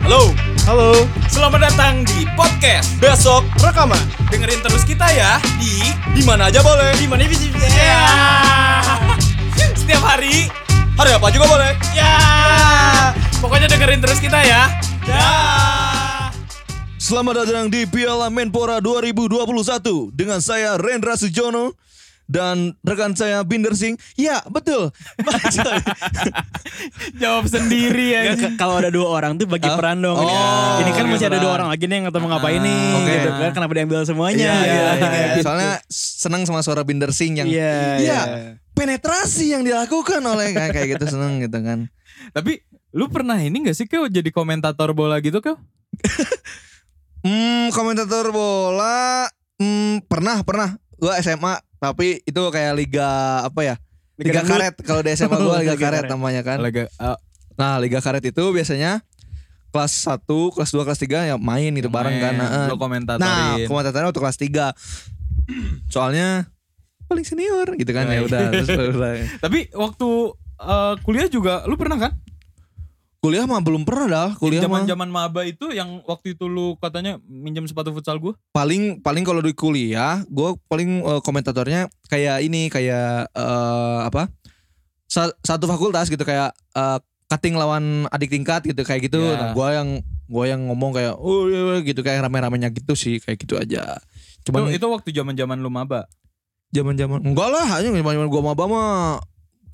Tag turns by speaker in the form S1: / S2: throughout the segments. S1: Halo,
S2: Halo,
S1: selamat datang di podcast Besok
S2: rekaman.
S1: Dengerin terus kita ya di di mana aja boleh. Di mana aja Ya. Setiap hari, hari apa juga boleh. Ya. Pokoknya dengerin terus kita ya. Ya.
S3: Selamat datang di Piala Menpora 2021 dengan saya Rendra Sujono dan rekan saya Binder Singh. Ya, betul. Bacoy.
S4: Jawab sendiri ya. Kalau ada dua orang tuh bagi
S3: Hah?
S4: peran dong.
S3: Oh,
S4: ini.
S1: iya,
S4: ini kan
S3: bagi
S4: masih ada dua
S3: peran.
S4: orang lagi nih yang
S1: Ah,
S4: ketemu ngapain nih
S3: oke.
S4: gitu kan kenapa diambil semuanya?
S3: Iya, iya,
S4: gitu.
S3: iya. Soalnya senang sama suara Binder Singh yang
S4: Iya,
S3: Iya,
S4: iya.
S3: penetrasi yang dilakukan oleh kayak kayak gitu senang gitu kan.
S2: Tapi lu pernah ini gak sih kau jadi komentator bola gitu kau?
S3: Hmm, komentator bola hmm, pernah pernah gua SMA tapi itu kayak liga apa ya?
S4: Liga
S3: Liga,
S4: dangdut.
S3: karet kalau di SMA gua liga,
S4: Liga
S3: karet
S4: karet.
S3: namanya kan.
S2: Laga, eh,
S3: Nah, liga karet itu biasanya kelas 1, kelas 2, kelas 3 ya main gitu
S2: main,
S3: bareng kan. Heeh.
S2: Lu komentatorin.
S3: Nah, komentatornya waktu kelas 3. Soalnya paling senior gitu kan ya
S2: Yoi.
S3: udah terus udah.
S2: Tapi waktu eh, kuliah juga lu pernah kan?
S3: Kuliah mah belum pernah dah, kuliah mah
S2: Zaman-zaman maba itu yang waktu itu lu katanya minjem sepatu futsal gua.
S3: paling paling kalau di kuliah gue paling eh, komentatornya kayak ini kayak eh, apa Sa- satu fakultas gitu kayak eh, cutting lawan adik tingkat gitu kayak gitu
S2: Iya.
S3: nah, gue yang gue yang ngomong kayak oh iya, iya," gitu kayak rame-ramenya gitu sih kayak gitu aja cuman
S2: itu, itu waktu zaman-zaman lu maba.
S3: zaman-zaman enggak lah hanya zaman-zaman gue maba mah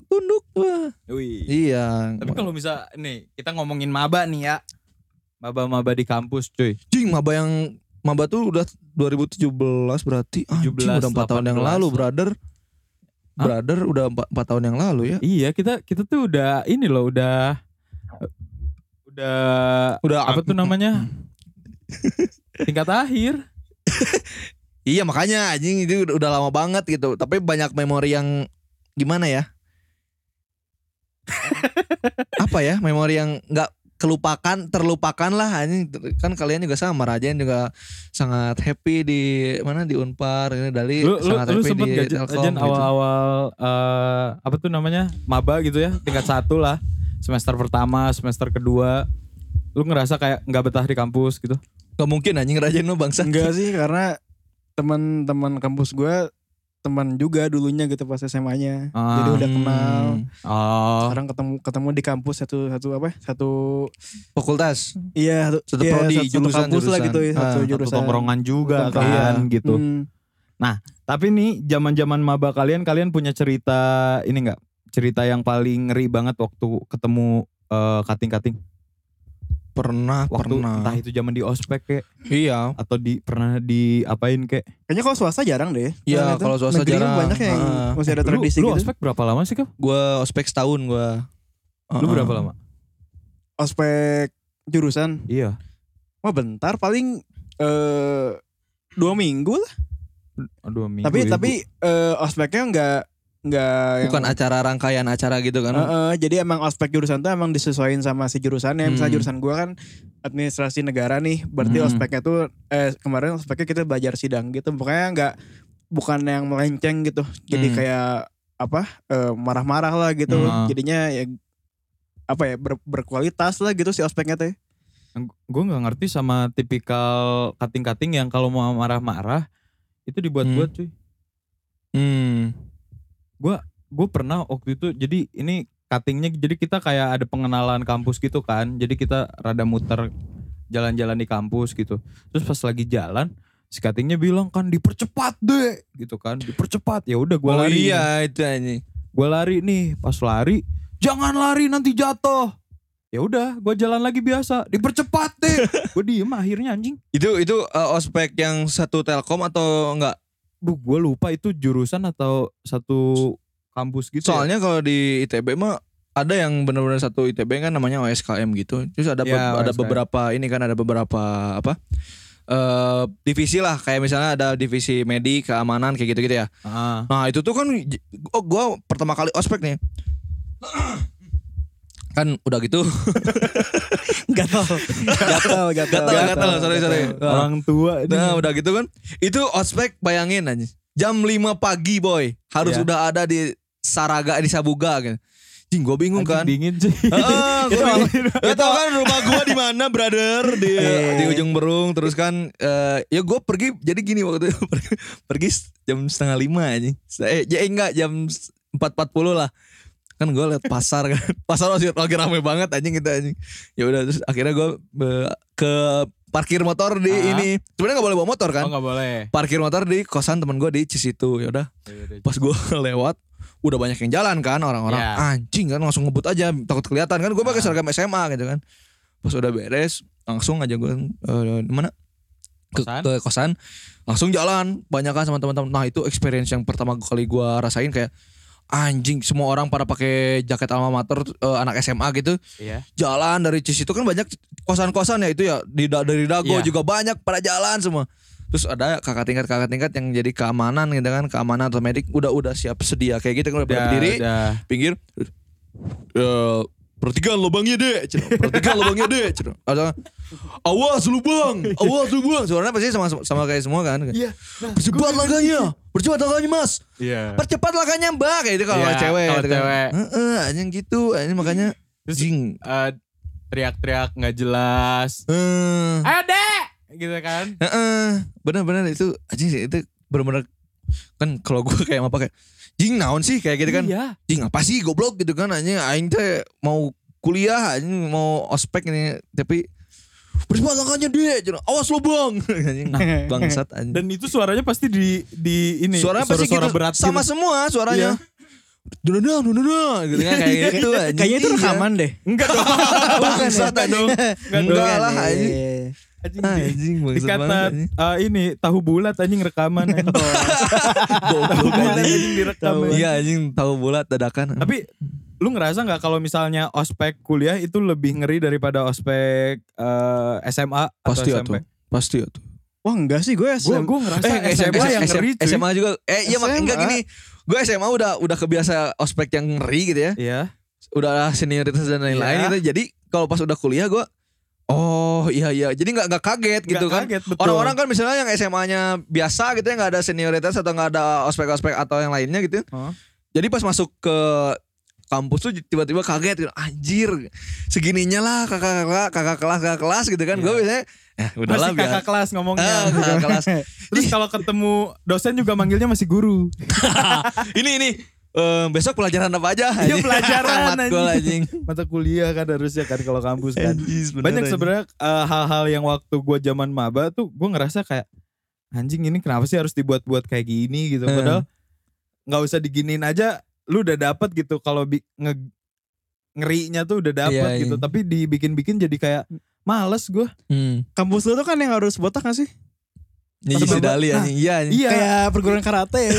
S3: tunduk gua.
S2: Wih.
S3: iya
S2: Tapi kalau bisa nih kita ngomongin maba nih ya. Maba-maba di kampus cuy.
S3: Jing maba yang maba tuh udah 2017 berarti anjing
S2: 17,
S3: udah 4 tahun yang
S2: 18.
S3: lalu brother. Brother udah 4, tahun yang lalu ya.
S2: Iya, kita kita tuh udah ini loh udah udah
S3: Udah
S2: apa tuh namanya? Tingkat akhir.
S3: Iya makanya anjing itu udah, udah lama banget gitu. Tapi banyak memori yang gimana ya? Apa ya memori yang nggak kelupakan terlupakan lah anjing kan kalian juga sama Rajen juga sangat happy di mana di Unpar ini Dali
S2: Lu lu,
S3: sangat
S2: lu
S3: happy
S2: sempet
S3: di
S2: gak Jen,
S3: Telkom
S2: Jen,
S3: gitu.
S2: awal-awal eh, apa tuh namanya? maba gitu ya, tingkat satu lah. Semester pertama, semester kedua. Lu ngerasa kayak nggak betah di kampus gitu.
S3: Gak mungkin anjing Rajen lu bangsa
S4: Enggak sih karena teman-teman kampus gue teman juga dulunya gitu pas SMA-nya.
S2: Ah.
S4: Jadi udah kenal.
S3: Hmm.
S2: Oh.
S4: Sekarang ketemu ketemu di kampus satu satu apa? Satu
S3: fakultas
S4: iya satu,
S3: Satu
S4: iya,
S3: prodi,
S4: satu, satu
S3: jurusan,
S4: kampus lah
S3: jurusan.
S4: gitu ya, satu
S3: Ah, satu
S2: Satu
S4: jurusan.
S2: tongkrongan juga
S4: Tongkrongan,
S2: kan
S3: iya.
S2: gitu.
S4: Hmm.
S2: Tapi nih zaman-zaman maba kalian kalian punya cerita ini enggak? Cerita yang paling ngeri banget waktu ketemu eh, kating-kating
S3: pernah
S2: waktu
S3: pernah
S2: entah itu zaman di ospek kek
S3: iya
S2: atau di pernah diapain kek
S4: Kayaknya kalau swasta jarang deh.
S3: Iya,
S4: Ternyata
S3: kalau swasta
S4: negeri kan
S3: jarang.
S4: Banyak yang
S3: Ah.
S4: masih ada
S2: Lu-
S4: tradisi
S2: lu,
S4: gitu.
S2: ospek berapa lama sih kau
S3: gue ospek setahun gue
S2: lu berapa lama
S4: ospek jurusan
S2: iya
S4: wah bentar paling eh dua minggu lah
S2: dua minggu
S4: tapi
S2: ya,
S4: tapi eh, ospeknya nggak nggak yang-
S3: bukan acara rangkaian acara gitu
S4: Eh,
S3: kan
S4: eh, jadi emang ospek jurusan tuh emang disesuaikan sama si jurusannya misalnya
S3: Hmm.
S4: jurusan gua kan administrasi negara nih berarti
S2: Hmm.
S4: ospeknya tuh eh, kemarin ospeknya kita belajar sidang gitu pokoknya nggak bukan yang melenceng gitu jadi
S3: Hmm.
S4: kayak apa eh, marah-marah lah gitu
S2: Hmm.
S4: jadinya ya apa ya ber- berkualitas lah gitu si ospeknya teh
S2: gue nggak ngerti sama tipikal kating-kating yang kalau mau marah-marah itu dibuat-buat cuy
S3: hmm.
S2: gue pernah waktu itu jadi ini cuttingnya jadi kita kayak ada pengenalan kampus gitu kan jadi kita rada muter jalan-jalan di kampus gitu terus pas lagi jalan si cuttingnya bilang kan dipercepat deh gitu kan dipercepat ya udah gue
S3: oh
S2: lari
S3: iya itu anjing
S2: gue lari nih pas lari jangan lari nanti jatuh ya udah gue jalan lagi biasa dipercepat deh gue diem akhirnya anjing
S3: itu itu eh, ospek yang satu telkom atau enggak
S2: duh gue lupa itu jurusan atau satu kampus gitu ya.
S3: soalnya kalau di itb mah ada yang benar-benar satu itb kan namanya oskm gitu terus ada be-
S2: Ya,
S3: ada
S2: OSKM.
S3: beberapa ini kan ada beberapa apa eh divisi lah kayak misalnya ada divisi medik keamanan kayak gitu gitu ya
S2: Ah.
S3: Nah itu tuh kan j- oh, gue pertama kali ospek nih kan udah gitu
S4: gatal gatal gatal
S3: gatal gatal sorry sorry nah,
S2: orang tua ini.
S3: nah, udah gitu kan itu ospek bayangin aja jam 5 pagi boy harus
S2: Iya.
S3: udah ada di Saraga di Sabuga gitu. Jing gue bingung kan.
S2: dingin sih.
S3: Heeh,
S2: Itu
S3: gua
S2: apa?
S3: bingung. Oh, Gak tau kan rumah gua di mana, brother di
S1: Eh.
S3: di ujung Berung. Terus kan, eh, ya gue pergi. Jadi gini waktu itu pergi, pergi jam setengah lima aja. Eh, ya enggak jam empat empat puluh lah. Kan gue liat pasar kan, pasar masih lagi rame banget anjing kita anjing. Ya udah terus akhirnya gue ke parkir motor di
S1: Ah.
S3: ini. Sebenarnya nggak boleh bawa motor kan?
S1: Oh nggak boleh.
S3: parkir motor di kosan temen gue di Cisitu ya udah pas gue lewat udah banyak yang jalan kan orang-orang
S1: Ya.
S3: anjing kan langsung ngebut aja takut kelihatan kan gue pakai seragam SMA gitu kan pas udah beres langsung aja gue eh, di mana ke
S2: Kosan?
S3: ke kosan langsung jalan banyak kan sama teman-teman nah itu experience yang pertama kali gue rasain kayak anjing semua orang pada pakai jaket alma mater eh, anak SMA gitu
S1: Iya.
S3: jalan dari Cisitu kan banyak kosan-kosan ya itu ya di da- dari Dago
S1: Iya.
S3: juga banyak pada jalan semua terus ada kakak tingkat kakak tingkat yang jadi keamanan gitu kan keamanan atau medik udah udah siap sedia kayak gitu kan udah pada berdiri
S2: udah.
S3: pinggir eh pertigaan lubangnya deh cenah. pertigaan lubangnya deh cenah. ada awas lubang awas lubang suaranya pasti sama sama kayak semua kan iya percepat langkahnya percepat langkahnya mas
S1: Iya.
S3: percepat langkahnya mbak kayak itu kalau
S1: Iya,
S3: cewek
S1: kalau
S3: gitu kan.
S1: cewek.
S3: Heeh, anjing gitu anjing makanya
S1: Terus-
S3: jing
S1: Eh, teriak-teriak nggak jelas.
S3: eh
S1: Ayo dek, gitu kan?
S3: Heeh, bener-bener itu anjing sih itu bener-bener kan kalau gue kayak apa kayak jing naon sih kayak gitu kan
S1: Iya.
S3: jing apa sih goblok gitu kan anjing aing teh mau kuliah anjing mau ospek ini tapi berapa langkahnya dia Cenah, awas lu bang anjing bangsat anjing
S2: Dan itu suaranya pasti di di ini.
S3: suaranya pasti
S2: suara-suara
S3: gitu
S2: berat
S3: sama
S2: gitu.
S3: semua suaranya Dududang, dududang, gitu kan kayak gitu anjing.
S4: Eh, Kayaknya itu rekaman deh.
S2: Enggak dong.
S3: Bangsat anjing. Enggak lah anjing.
S4: Iya.
S2: Anjing, di-
S3: Anjing bangsat
S2: Dikata
S3: banget anjing.
S2: eh, ini tahu bulat anjing rekaman. anjing.
S3: Goblok anjing.
S2: anjing direkaman.
S3: Iya anjing tahu bola dadakan.
S2: Tapi lu ngerasa nggak kalau misalnya ospek kuliah itu lebih ngeri daripada ospek eh, SMA
S3: pasti
S2: atau
S3: atau
S2: SMP?
S3: pasti ya, atau
S4: Wah enggak sih gue
S2: Gue
S4: SM.
S2: gue ngerasa
S3: Eh,
S2: SMA, yang ngeri cuy.
S3: SMA juga eh iya mak
S4: SMA.
S3: enggak gini gue SMA udah udah kebiasa ospek yang ngeri gitu ya
S2: Iya.
S3: udah senioritas dan lain-lain
S2: Iya.
S3: gitu jadi kalau pas udah kuliah gue oh iya iya jadi nggak nggak kaget gitu
S2: Nggak
S3: kan
S2: kaget, betul.
S3: orang-orang kan misalnya yang SMA-nya biasa gitu ya nggak ada senioritas atau nggak ada ospek-ospek atau yang lainnya gitu
S2: Heeh.
S3: jadi pas masuk ke kampus tuh tiba-tiba kaget gitu anjir segininya lah kakak-kakak kakak kelas kakak kelas gitu kan gue biasanya eh, udahlah
S2: Iya. Masih
S3: biar
S2: kakak kelas ngomongnya.
S3: Ah, kakak kelas
S2: Terus kalau ketemu dosen juga manggilnya masih guru.
S3: ini ini eh, besok pelajaran apa aja?
S2: Iya,
S3: anjing?
S2: pelajaran,
S3: Matkul anjing.
S2: anjing. Mata kuliah kan harusnya kan kalau kampus kan.
S3: Anjis, bener,
S2: Banyak
S3: anjing.
S2: sebenarnya eh, hal-hal yang waktu gua zaman maba tuh gua ngerasa kayak anjing ini kenapa sih harus dibuat-buat kayak gini gitu.
S3: Eh.
S2: Padahal nggak usah diginiin aja lu udah dapat gitu kalau bi- nge- ngerinya tuh udah dapat
S3: Iya,
S2: gitu.
S3: iya.
S2: Tapi dibikin-bikin jadi kayak males gua.
S3: Hmm.
S4: Kampus lu tuh kan yang harus botak gak sih?
S3: Ini
S2: Pas
S3: si
S2: bapak-
S3: Dali anjing. Iya anjing.
S2: Iya.
S4: Kayak perguruan karate ya.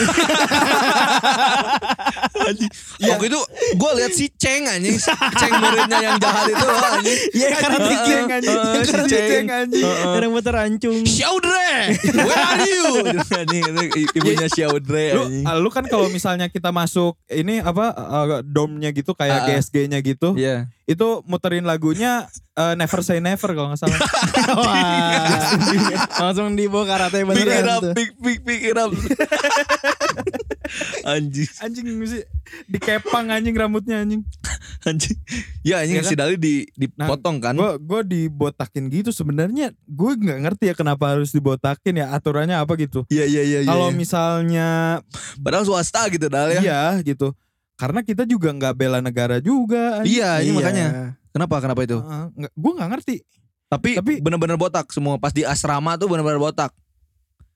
S3: Waktu itu gue lihat si Ceng anjing. Si Ceng muridnya yang jahat itu loh anjing.
S4: Iya karate
S3: Heeh,
S4: king anjing.
S2: Oh,
S3: heeh, si
S4: Karate
S3: Ceng.
S4: king anjing. Yang ya? muter ancung.
S3: Syaudre, where are you? Iya. anjing itu i- ibunya Syaudre
S2: Lu,
S3: anjing.
S2: ah, lu kan kalau misalnya kita masuk ini apa eh, domnya gitu
S3: Ah, ah.
S2: kayak GSG-nya gitu.
S3: Iya.
S2: itu muterin lagunya eh, Never Say Never kalau nggak salah.
S4: Wah. Langsung dibawa karate
S3: Pick it up,
S4: beneran tuh.
S3: pick, pick, pick it up. anjing,
S2: anjing sih dikepang anjing rambutnya anjing.
S3: anjing. Ya anjing
S2: Iya kan?
S3: si Dali di dipotong kan.
S2: Gue gue dibotakin gitu sebenarnya gue nggak ngerti ya kenapa harus dibotakin ya aturannya apa gitu.
S3: Iya iya iya. iya,
S2: Kalau
S3: iya.
S2: misalnya
S3: padahal swasta gitu Dali ya.
S2: iya gitu. Karena kita juga nggak bela negara juga.
S3: Iya, ini
S4: Iya.
S3: makanya. Kenapa? Kenapa itu?
S2: gue nggak ngerti
S3: Tapi,
S2: Tapi-
S3: bener-bener botak semua. Pas di asrama tuh bener-bener botak.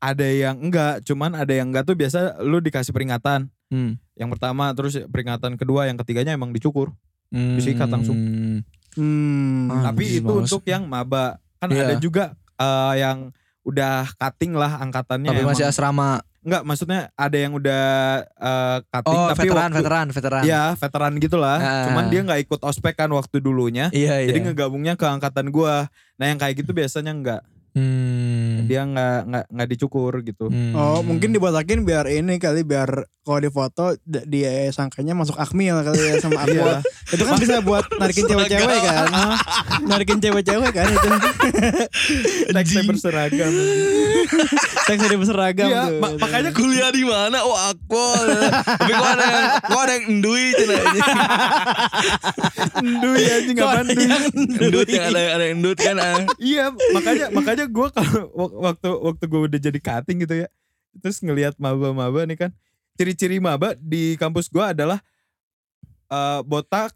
S2: ada yang enggak cuman ada yang enggak tuh biasa lu dikasih peringatan
S3: Hmm.
S2: yang pertama terus peringatan kedua yang ketiganya emang dicukur Disikat langsung.
S4: Hmm.
S3: Ah,
S2: Tapi
S3: Hmm. Anjing,
S2: itu
S3: males.
S2: untuk yang maba. Kan
S3: Iya.
S2: ada juga eh, yang udah cutting lah angkatannya.
S3: Tapi
S2: emang.
S3: masih asrama.
S2: Enggak, maksudnya ada yang udah eh, cutting
S3: Oh,
S2: tapi
S3: veteran,
S2: waktu
S3: veteran, veteran.
S2: Iya, veteran gitu lah.
S3: Ah.
S2: Cuman dia nggak ikut ospek kan waktu dulunya.
S3: Iya, iya.
S2: Jadi ngegabungnya ke angkatan gua. Nah, yang kayak gitu biasanya enggak.
S3: Hmm.
S2: Dia nggak nggak nggak dicukur gitu.
S3: Hmm.
S4: Oh mungkin dibotakin biar ini kali biar kalau di foto d- dia sangkanya masuk akmil kali ya sama aqua. itu kan bisa buat narikin cewek-cewek kan. narikin cewek-cewek kan itu.
S2: Teksnya berseragam.
S4: Teksnya dia berseragam
S2: Iya,
S4: tuh.
S2: ma- makanya
S3: kuliah di mana? Oh aku. Tapi kok ada yang kok ada yang endui
S2: Iya,
S3: cina ini.
S2: Duh ya anjing apaan duh?
S3: Endut yang ada ada yang endut kan. ah.
S2: Iya, makanya makanya gue kalau wak- waktu waktu gue udah jadi cutting gitu ya, terus ngelihat maba-maba nih kan, ciri-ciri maba di kampus gue adalah eh, botak,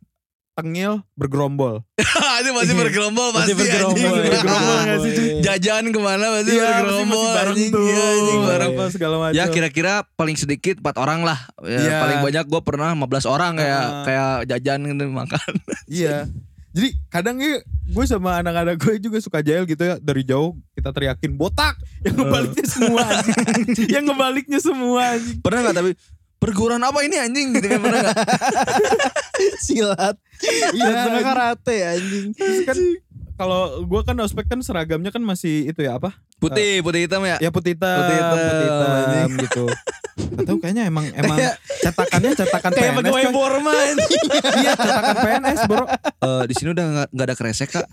S2: tengil, bergerombol.
S3: Ah, itu Iya. masih bergerombol iya. pasti.
S4: Masih bergerombol,
S3: anjing.
S4: ya.
S2: Bergerombol nggak sih, cuy?
S3: Jajan kemana pasti
S2: Iya, pasti
S3: bergerombol
S2: masih bareng
S3: anjing.
S2: tuh,
S3: Iya, anjing, bareng.
S2: apa segala macam.
S3: Ya kira-kira paling sedikit 4 orang lah. Ya,
S2: Iya.
S3: Paling banyak gue pernah 15 orang kayak
S2: Ah.
S3: kayak jajan gitu makan.
S2: Iya. Jadi kadang gue sama anak-anak gue juga suka jahil gitu ya dari jauh kita teriakin botak yang ngebaliknya semua anjing. yang ngebaliknya semua anjing.
S3: Pernah nggak tapi perguruan apa ini anjing gitu kan pernah nggak?
S4: silat. Iya,
S2: Nah,
S4: sama karate anjing.
S2: Terus kan kalau gue kan ospek kan seragamnya kan masih itu ya apa?
S3: Putih, putih hitam ya.
S2: Ya putih hitam,
S3: Putih hitam, anjing.
S2: gitu. Gak tahu kayaknya emang emang cetakannya
S3: Kan
S2: cetakan
S4: Kayak
S2: PNS.
S4: pegawai
S2: coy.
S4: Borma anjing.
S2: kan Iya, cetakan PNS, Bro.
S3: Eh, di sini udah nggak- nggak ada kresek kak.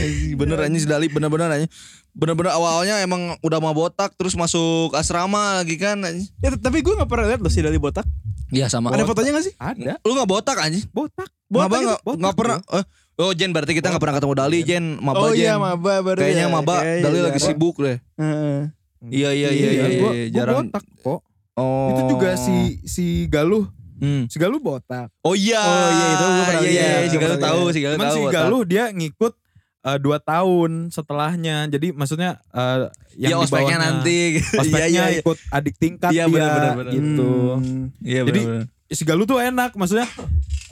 S3: Eh, bener anjing si Dali bener-bener anjing bener-bener awalnya emang udah mau botak terus masuk asrama lagi kan anjing
S4: Ya, tapi gue gak pernah lihat loh si Dali botak.
S3: iya sama
S4: Ada fotonya gak sih?
S2: Ada
S3: lu nggak botak anjing
S2: Iya. botak.
S3: maba
S2: itu,
S3: nggak nggak pernah eh, oh Jen berarti kita nggak pernah ketemu Dali Jen maba
S4: oh
S3: Jen
S4: iya maba baru
S3: kayaknya
S4: ya.
S3: maba
S4: Kayaknya
S3: Dali
S4: jarang.
S3: lagi sibuk deh
S4: Heeh.
S3: iya iya iya iya,
S2: gua,
S3: iya,
S2: gua
S3: jarang
S2: botak kok.
S3: oh
S2: Itu juga si si Galuh,
S3: Hmm.
S2: si Galuh botak.
S3: oh iya
S4: Oh, iya, itu gua pernah
S3: iya iya,
S4: lihat.
S3: si Galuh
S4: Gua pernah
S3: tahu si Galuh
S2: Cuman
S3: tahu
S2: si
S3: botak.
S2: Galuh dia ngikut 2 dua tahun setelahnya. Jadi maksudnya eh,
S3: ya
S2: yang di
S3: ospeknya
S2: bawahnya-
S3: nanti
S2: Ospeknya ya.
S3: Iya, iya, iya.
S2: ikut adik tingkat
S3: Iya,
S2: dia
S3: bener, bener, bener.
S2: gitu.
S4: Hmm.
S3: Iya
S2: Jadi,
S3: bener-bener.
S2: Si Galuh Hmm. tuh enak maksudnya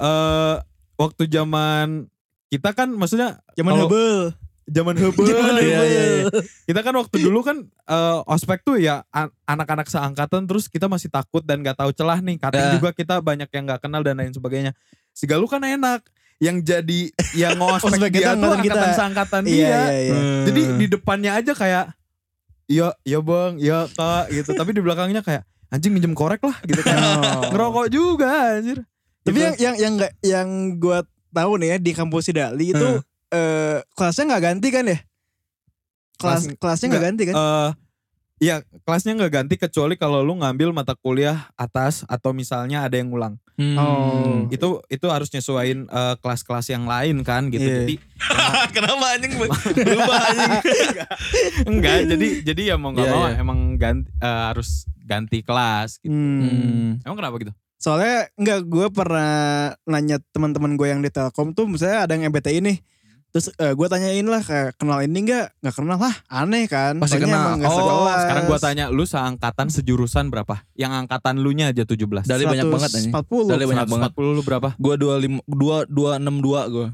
S2: eh waktu zaman kita kan maksudnya
S4: Zaman
S2: Kalau-
S4: hebel.
S2: zaman hebel
S3: Iya, iya, iya.
S2: kita kan waktu dulu kan eh, ospek tuh ya an- anak-anak seangkatan terus kita masih takut dan nggak tahu celah nih
S3: Eh.
S2: katanya juga kita banyak yang nggak kenal dan lain sebagainya si Galuh kan enak yang jadi yang ngospek dia
S4: Ospek
S2: tuh
S4: kita angkatan
S2: angkatan
S4: kita.
S2: seangkatan dia
S4: Iya iya iya.
S3: Hmm.
S2: jadi di depannya aja kayak iya iya bang iya kak gitu tapi di belakangnya kayak anjing minjem korek lah gitu kan ngerokok juga anjir
S4: Tapi
S2: Gitu.
S4: yang yang yang nggak yang gue tahu nih ya di kampus Dali itu
S3: Heeh.
S4: eh, kelasnya nggak ganti kan ya? Kelas
S2: Kelas-
S4: kelasnya nggak ganti kan?
S2: eh ya kelasnya nggak ganti kecuali kalau lu ngambil mata kuliah atas atau misalnya ada yang ngulang
S3: Hmm.
S4: Oh.
S2: itu itu harus nyesuaiin eh, kelas-kelas yang lain kan gitu
S4: Iya.
S2: jadi
S3: Kenapa anjing berubah anjing?
S2: enggak jadi jadi ya mau nggak
S3: Iya,
S2: mau
S3: iya.
S2: emang ganti eh, harus ganti kelas gitu.
S4: Hmm.
S2: emang kenapa gitu
S4: Soalnya nggak gue pernah nanya teman-teman gue yang di Telkom tuh misalnya ada yang MBTI nih. Terus gue tanyain lah kayak kenal ini nggak? Nggak kenal lah, aneh kan?
S3: Pasti
S4: Soalnya
S3: kenal.
S4: emang nggak
S2: oh
S4: sekelas.
S2: sekarang gua tanya lu seangkatan sejurusan berapa yang angkatan lu nya aja 17 belas
S3: Dali banyak banget anjing.
S4: 140.
S3: Dali banyak banget.
S2: lu berapa
S3: Gua 25 2 262 gua.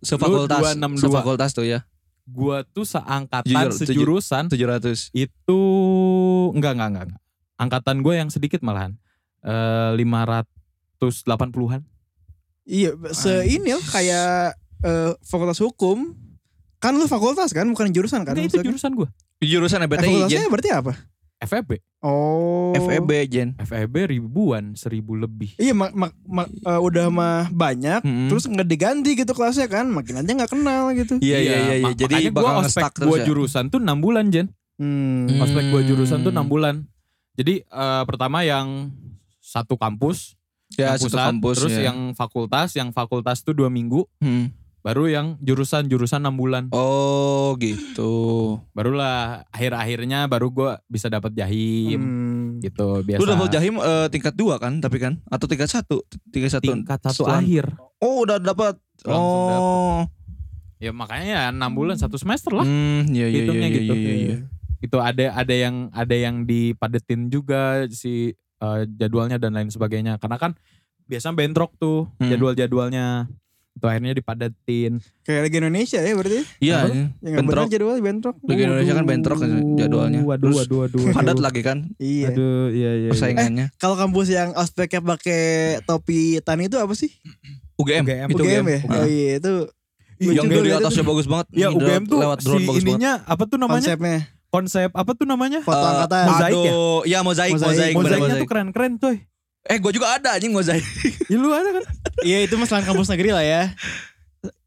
S3: Sefakultas.
S2: Lu 262.
S3: Sefakultas tuh ya.
S2: gua tuh seangkatan
S3: Jujur, tujuh-
S2: sejurusan
S3: 700.
S2: itu enggak enggak enggak, enggak. angkatan gue yang sedikit malahan Eh, lima ratus delapan puluhan
S4: Iya, se ini loh, kayak eh, fakultas hukum. Kan lu fakultas kan, bukan jurusan kan?
S2: itu
S4: maksudnya.
S2: jurusan E gue
S3: Jurusan
S4: Eh,
S3: EBTI Jen.
S4: fakultasnya berarti apa?
S2: FEB
S4: Oh.
S3: FEB Jen.
S2: FEB E ribuan seribu lebih
S4: Iya, mak, mak, mak- eh, udah mah banyak,
S3: Mm-mm.
S4: terus nggak diganti gitu kelasnya kan, makin aja nggak kenal gitu.
S3: Iya iya iya iya.
S2: mak- makanya
S3: Jadi
S2: gua
S3: bakal
S2: ospek
S3: stuck
S2: gua
S3: terus. ya.
S2: jurusan tuh 6 bulan Jen
S4: Hmm.
S2: ospek gua jurusan tuh 6
S3: Hmm.
S2: bulan jadi eh, pertama yang satu kampus,
S3: Ya
S2: yang
S3: satu
S2: pusat,
S3: kampus
S2: terus
S3: ya.
S2: yang fakultas, yang fakultas tuh dua minggu,
S3: Hmm.
S2: baru yang jurusan jurusan enam bulan,
S3: Oh gitu.
S2: barulah akhir-akhirnya baru gua bisa dapat
S3: iya.
S2: jahim,
S4: Hmm.
S2: gitu biasa.
S3: Lu double jahim eh, tingkat 2 kan tapi kan atau tingkat 1? Tingkat 1.
S2: tingkat satu
S3: setelan.
S2: akhir.
S3: Oh udah dapat.
S2: Langsung
S3: Oh.
S2: Ya makanya ya 6 bulan satu semester lah.
S3: Hmm, iya iya iya
S2: Hitungnya
S3: iya,
S2: gitu.
S3: iya iya.
S2: Itu ada ada yang ada yang dipadetin juga si eh, jadwalnya dan lain sebagainya. Karena kan biasa bentrok tuh
S3: Hmm.
S2: jadwal-jadwalnya. Itu akhirnya dipadetin.
S4: Kayak lagi Indonesia ya berarti.
S3: Iya.
S2: Apa?
S3: iya.
S4: Yang nggak
S3: Bentrok.
S4: benar jadwal bentrok. Hmm.
S3: Liga Indonesia kan bentrok kan jadwalnya.
S2: Waduh,
S3: Terus
S2: waduh, waduh.
S3: Padat lagi kan
S4: Iya.
S2: Aduh, iya iya. iya.
S3: persaingannya.
S4: Kalau kampus yang ospeknya pakai topi tani itu apa sih?
S3: UGM.
S2: UGM.
S3: Itu
S4: UGM,
S3: UGM.
S4: ya? Oh iya, itu
S3: yang
S2: Iya,
S3: di
S2: iya,
S3: atasnya bagus banget.
S2: Ya
S3: Ini
S2: UGM tuh
S3: lewat drone
S2: si
S3: bagus banget.
S2: ininya apa tuh namanya?
S4: konsepnya
S2: Konsep apa tuh namanya?
S4: foto
S3: Eh,
S4: angkatan
S2: mozaik ya?
S3: Aduh, ya mozaik,
S4: Mozaik.
S3: mozaik, bener,
S2: Mozaiknya
S3: mozaik.
S2: tuh keren-keren coy.
S3: Eh, gue juga ada anjing mozaik.
S2: Ya, lu ada kan?
S4: Iya itu mas selain kampus negeri lah ya.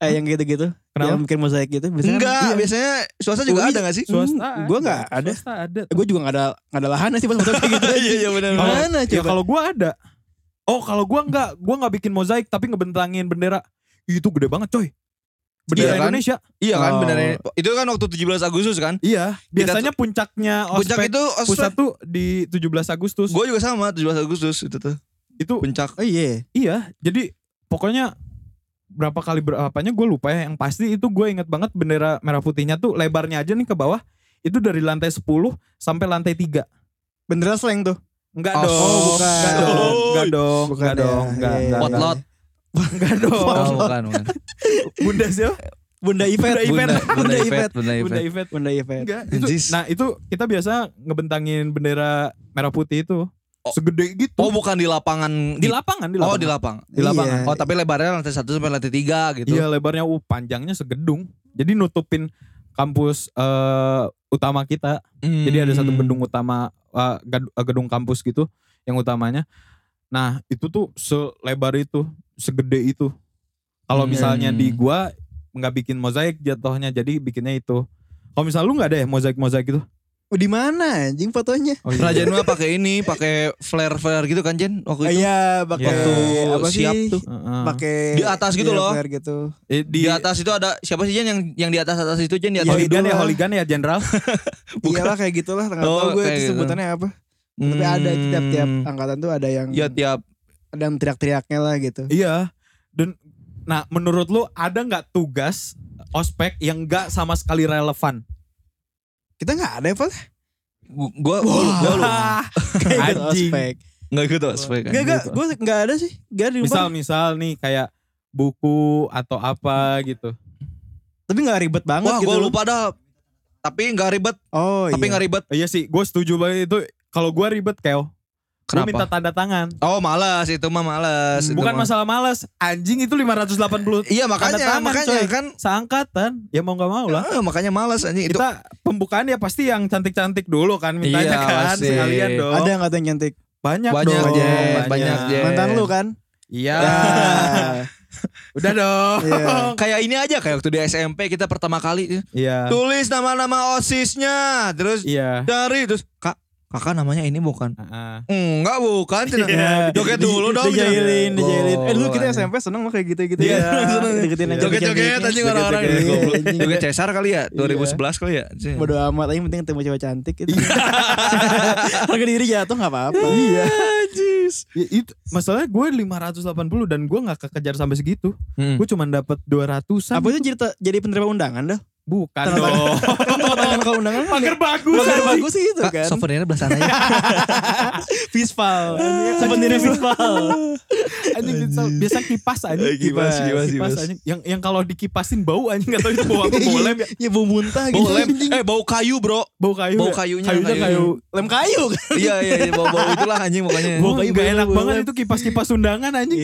S4: Eh, yang gitu-gitu.
S2: Kenapa?
S4: Yang bikin mozaik gitu. Biasanya
S3: Enggak,
S4: Iya.
S3: biasanya swasta juga
S4: Ui,
S3: ada gak sih?
S2: Swasta.
S4: Hmm, gua nggak ada.
S2: Swasta ada.
S4: Eh, Gue juga gak ada gak ada lahan sih pas mozaik kayak gitu.
S3: Iya, iya benar.
S2: Kalau-
S4: Gimana
S2: Ya
S4: coba?
S2: kalau gua ada. Oh, kalau gua enggak, gua enggak bikin mozaik tapi ngebentangin bendera. Itu gede banget, coy. Bendera
S3: Iya kan?
S2: Indonesia.
S3: Iya kan
S4: Oh.
S3: benar. Itu kan waktu 17 Agustus kan?
S2: Iya, biasanya puncaknya
S3: Puncak
S2: ospek
S3: itu
S2: pusat tuh di 17 Agustus.
S3: Gue juga sama 17 Agustus itu tuh.
S2: itu
S3: Puncak.
S4: Oh iya.
S2: iya, jadi pokoknya berapa kali berapanya gue lupa ya. Yang pasti itu gue inget banget bendera merah putihnya tuh lebarnya aja nih ke bawah. Itu dari lantai 10 sampai lantai 3.
S4: Bendera slang tuh.
S2: Enggak
S3: Oh,
S2: dong.
S4: bukan.
S2: Enggak dong. Enggak dong.
S4: Bukan
S2: Enggak
S4: ya.
S2: dong. Enggak,
S4: Iya, iya,
S2: enggak,
S4: iya.
S2: enggak.
S3: Potlot.
S2: Enggak dong.
S3: Oh, bukan, bukan.
S2: Bunda siapa?
S4: Bunda Ipet.
S3: Bunda, Bunda
S4: Bunda
S3: Ipet,
S4: Ipet.
S3: Bunda ya.
S2: Bunda
S3: Ipet.
S2: Ivet.
S4: Bunda Ipet.
S2: Enggak. itu-
S3: Anjis.
S2: nah itu kita biasa ngebentangin bendera merah putih itu.
S3: Oh.
S2: Segede gitu.
S3: Oh, bukan di lapangan.
S2: di lapangan. Di lapangan.
S3: Oh, di lapangan.
S2: Di lapangan.
S4: Iya.
S3: Oh, tapi lebarnya lantai 1 sampai lantai 3 gitu.
S2: Iya lebarnya uh, panjangnya segedung. Jadi nutupin kampus eh, utama kita.
S3: Hmm.
S2: Jadi ada satu gedung utama eh, gad- eh, gedung kampus gitu yang utamanya. Nah, itu tuh selebar itu, segede itu. Kalau
S3: Hmm.
S2: misalnya di gua nggak bikin mozaik jatuhnya, jadi bikinnya itu. Kalau misalnya lu nggak ada ya mozaik-mozaik gitu?
S4: Oh, di mana anjing fotonya?
S2: Oh,
S3: Kerajaan mah pakai ini, pakai flare-flare gitu kan, Jen? Waktu itu.
S4: Iya, pakai
S2: Waktu
S4: apa sih?
S3: siap tuh.
S2: Heeh.
S4: Pakai
S3: Ah. Di atas gitu loh.
S4: flare gitu.
S2: Eh, di,
S3: Di atas itu ada siapa sih Jen yang yang di atas atas itu Jen di atas
S2: holigan
S3: itu.
S2: ya,
S4: lah.
S2: holigan ya jenderal.
S3: Bukan.
S4: Iyalah kayak gitulah, enggak
S3: Oh,
S4: tahu gue
S3: kayak
S4: itu
S3: gitu.
S4: sebutannya apa. Tapi ada
S3: Hmm.
S4: tiap-tiap angkatan tuh ada yang
S3: Ya tiap
S4: ada yang teriak-teriaknya lah gitu.
S2: Iya. Dan nah menurut lu ada nggak tugas ospek yang nggak sama sekali relevan?
S4: Kita nggak ada apa?
S3: gua gua, Oh, gua lu
S4: Kayak gitu
S2: Anjing.
S4: ospek.
S3: enggak ikut ospek kan.
S4: Gak, gak, gue gak ada sih. Gak ada di
S2: Misal
S4: rumah.
S2: misal nih kayak buku atau apa gitu.
S4: Tapi gak ribet banget
S3: Wah,
S4: gitu.
S3: gua lupa dah. Tapi enggak ribet,
S4: Oh
S3: tapi
S4: iya.
S3: enggak ribet.
S2: Oh, iya sih, gue setuju banget itu. Kalau gue ribet keo, gue
S3: Kenapa?
S2: minta tanda tangan.
S3: Oh, malas itu mah malas. itu
S2: Bukan
S3: mah.
S2: masalah males, anjing itu 580
S3: Iya,
S2: tanda
S3: makanya
S2: tangan,
S3: makanya
S2: coy.
S3: kan
S2: seangkatan. Ya mau nggak mau lah.
S3: Eh, makanya malas anjing itu.
S2: Kita pembukaan ya pasti yang cantik-cantik dulu kan mintanya
S3: Iya,
S2: kan
S3: pasti.
S2: sekalian dong.
S4: Ada yang katanya cantik.
S2: banyak,
S3: Banyak,
S2: dong.
S4: Jen,
S3: banyak, Jen. Yeah.
S4: Mantan lu kan?
S2: Iya.
S4: Ah,
S2: Udah dong.
S4: Iya.
S3: Kayak ini aja kayak waktu di SMP kita pertama kali
S2: Iya.
S4: Ah.
S3: tulis nama-nama OSIS-nya, terus
S2: Iya.
S3: dari terus Kak, Kakak namanya ini bukan.
S2: Heeh.
S3: Enggak bukan Cina.
S4: Iya.
S3: Joget dulu dong
S4: Dijailin, dijailin. Eh dulu kita
S3: Goblok,
S4: SMP seneng lo kayak gitu, gitu-gitu.
S2: Iya.
S4: Deketin
S3: Joget-joget
S4: aja. cantik-cantiknya.
S3: anjing orang-orang
S2: Joget-joget,
S3: ini.
S4: goblok. Iya.
S3: Joget Cesar kali ya 2011 kali ya Cina.
S4: Bodo amat aja yang penting ketemu cewek cantik gitu. Harga diri jatuh gak apa-apa.
S2: Iya. Ya, itu masalahnya gue 580 dan gue nggak kekejar sampai segitu.
S3: Hmm.
S2: Gue cuma dapat 200-an.
S4: Apa itu jadi, jadi penerima undangan dah?
S2: Bukan
S4: Tanda
S2: dong.
S4: Tangan kalau undangan kan ya.
S2: bagus.
S4: Makin bagus sih gitu
S3: Kak,
S4: kan.
S3: souvenirnya ya. belasan aja.
S4: Fispal. Sebenarnya Fispal.
S2: Anjing bisa- biasa kipas anjing.
S3: Eh, kipas, kipas, kipas.
S2: anjing. Yang yang kalau dikipasin bau anjing atau itu bau apa? Bau lem,
S4: Ya bau muntah gitu.
S3: Bau lem, eh bau kayu bro.
S2: bau kayu. ya?
S3: Bau kayunya,
S2: Kayunya
S3: kayu.
S2: kayu.
S4: Lem kayu kan.
S3: Iya iya iya, bau bau itulah anjing pokoknya.
S2: Bau kayu gak
S4: bau-
S2: enak
S4: bau
S2: banget
S4: lem.
S2: itu kipas-kipas undangan anjing.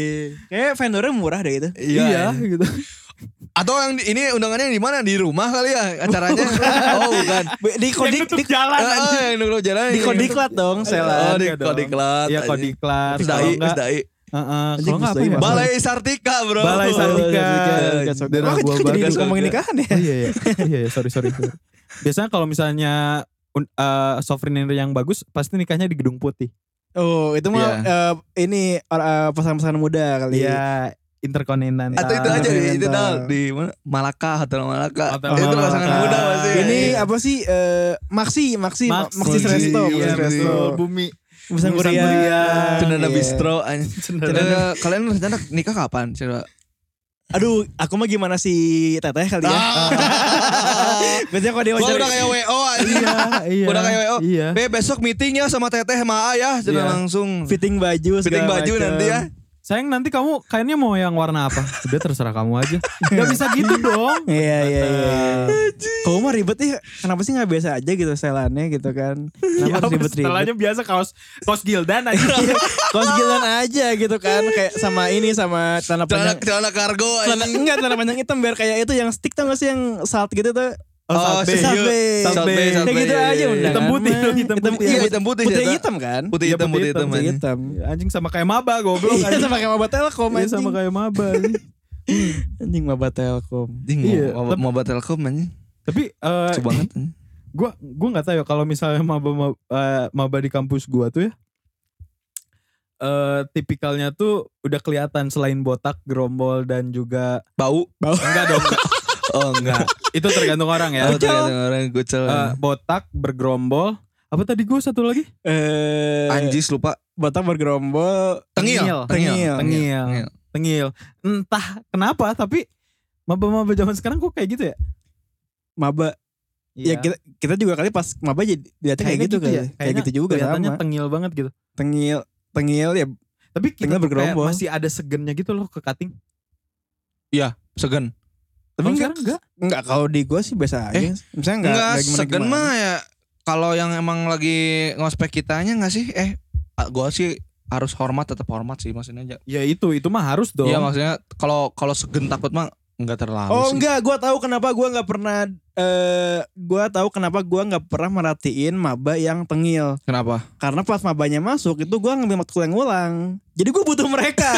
S4: Kayak vendornya murah deh itu.
S2: Iya, gitu.
S3: Atau yang di- ini undangannya di mana? Di rumah kali ya acaranya? oh bukan.
S4: Di kodik
S2: Yang nutup
S4: di,
S2: jalan
S3: Eh,
S2: anjing.
S3: eh, yang dulu jalan.
S4: di kodiklat dong,
S3: Oh,
S4: selan.
S3: di
S2: Iya dong.
S3: kodiklat.
S2: Iya
S3: anjing.
S2: kodiklat.
S3: Terus
S2: Kalau
S3: dai, terus
S2: enggak,
S3: dai.
S2: heeh,
S4: Anjing,
S2: kalau enggak apa
S4: terus
S2: ya?
S4: dai,
S3: Balai Sartika bro.
S2: Balai Sartika.
S4: Dan
S2: Daerah gua
S4: aku jadi
S2: bagas,
S4: ngomongin
S3: bagas.
S4: nikahan ya.
S2: Oh, iya, iya. iya, iya, sorry, sorry. Biasanya kalau misalnya un- eh, souvenir yang bagus pasti nikahnya di gedung putih.
S4: Oh, itu mah
S3: Iya.
S4: eh, ini or- eh, pasangan-pasangan muda kali.
S2: Iya, interkontinental.
S3: Atau itu aja di itu
S4: Continental.
S3: dal di mana? Malaka Hotel Malaka.
S4: Oh,
S2: Hotel
S3: itu
S2: Malaka.
S3: pasangan muda pasti. Iya.
S4: Ini apa sih eh, Maxi, Maxi,
S2: Maxi.
S4: Maxi, Resto,
S3: Maxi
S2: Iya,
S4: Maxi Resto.
S2: bumi.
S4: Busan
S2: Busan
S4: Korea.
S2: Korea.
S3: Cendana
S4: Iya.
S3: bistro anjing. Oh, Cendana kalian rencana nikah kapan? Coba.
S4: Aduh, aku mah gimana sih teteh kali ya? Biasanya kalau dia
S3: Ah. Gua udah kayak WO anjing.
S2: Iya, iya.
S3: Udah kayak, oh,
S2: Iya.
S3: Be, besok meeting ya sama teteh sama A ya. Sudah
S2: Iya.
S3: langsung.
S4: fitting baju segala
S3: Fitting baju
S4: macam.
S3: nanti ya.
S2: sayang nanti kamu kainnya mau yang warna apa? Udah terserah kamu aja. Gak bisa gitu dong.
S4: Iya iya iya. Kamu mah ribet ya. Kenapa sih nggak biasa aja gitu selannya gitu kan? Kenapa harus ribet-ribet?
S1: Setelahnya biasa kaos kaos gildan aja.
S4: Kaos gilan aja gitu kan kayak sama ini sama
S3: celana,
S4: celana panjang.
S3: celana kargo
S4: Celana
S3: anjing.
S4: enggak celana panjang hitam biar kayak itu yang stick tau gak sih yang salt gitu tuh.
S3: Oh,
S4: Salt
S3: salt B.
S4: B.
S3: Salt B, salt
S4: Ya
S3: B,
S4: gitu
S3: iya,
S4: aja
S3: iya,
S4: udah.
S2: Hitam
S4: kan,
S2: putih, hitam
S4: mah. hitam
S2: putih.
S4: putih.
S3: Iya, hitam putih,
S4: Putih
S3: Zeta.
S4: hitam kan?
S3: Putih
S2: Iya,
S3: hitam,
S2: putih
S3: putih hitam. Iya,
S4: Putih
S3: anjing.
S4: hitam.
S2: Anjing sama kayak maba goblok.
S4: Iya
S2: anjing.
S4: sama kayak Maba Telkom
S2: Iya,
S4: anjing.
S2: sama kayak maba. anjing.
S4: Anjing Maba Telkom.
S3: Anjing,
S2: Iya,
S3: mau-
S2: tapi-
S3: mau batal telkom anjing.
S2: Tapi eh,
S3: Lucu banget. anjing.
S2: gua gua nggak tahu ya kalau misalnya maba maba, eh, maba di kampus gua tuh ya eh tipikalnya tuh udah kelihatan selain botak, gerombol dan juga
S3: Bau.
S2: enggak dong.
S3: Oh enggak.
S2: Itu tergantung orang ya.
S3: Oh, tergantung orang gocel.
S2: Eh, botak, bergerombol, apa tadi gua satu lagi?
S4: Eh
S3: Anjis lupa.
S4: Batak bergerombol.
S3: Tengil.
S4: Tengil.
S2: Tengil. Tengil. Entah kenapa tapi maba-maba zaman sekarang kok kayak gitu ya?
S4: Maba. Ya kita kita juga kali pas Maba jadi dilihatnya kayak
S2: Iya. Kayaknya ya,
S4: gitu, kan. Kayak
S2: kayaknya
S4: gitu juga
S2: kelihatannya
S4: sama.
S2: tengil banget gitu.
S4: Tengil, tengil ya
S2: Tapi kita tuh
S4: Tengil
S2: kayak
S4: bergerombol.
S2: masih ada segennya gitu loh ke cutting.
S3: Segan.
S4: tapi
S2: Kalau
S4: enggak,
S2: sekarang enggak.
S4: enggak kalau di gua sih biasa aja. Misalnya
S3: Eh, Enggak,
S4: enggak enggak gimana-gimana.
S3: segen mah ya kalau yang emang lagi ngospek kitanya enggak sih? Eh, ah, gua sih harus hormat tetap hormat sih maksudnya. Ja-
S2: Ya itu, itu mah harus dong.
S3: Iya, maksudnya kalau kalau segen takut mah enggak terlalu
S4: Oh
S3: sih.
S4: enggak, gua tahu kenapa gua nggak pernah eh gua tahu kenapa gua nggak pernah merhatiin maba yang tengil.
S3: Kenapa?
S4: Karena pas mabanya masuk itu gua ngambil matkul yang ulang. Jadi gua butuh mereka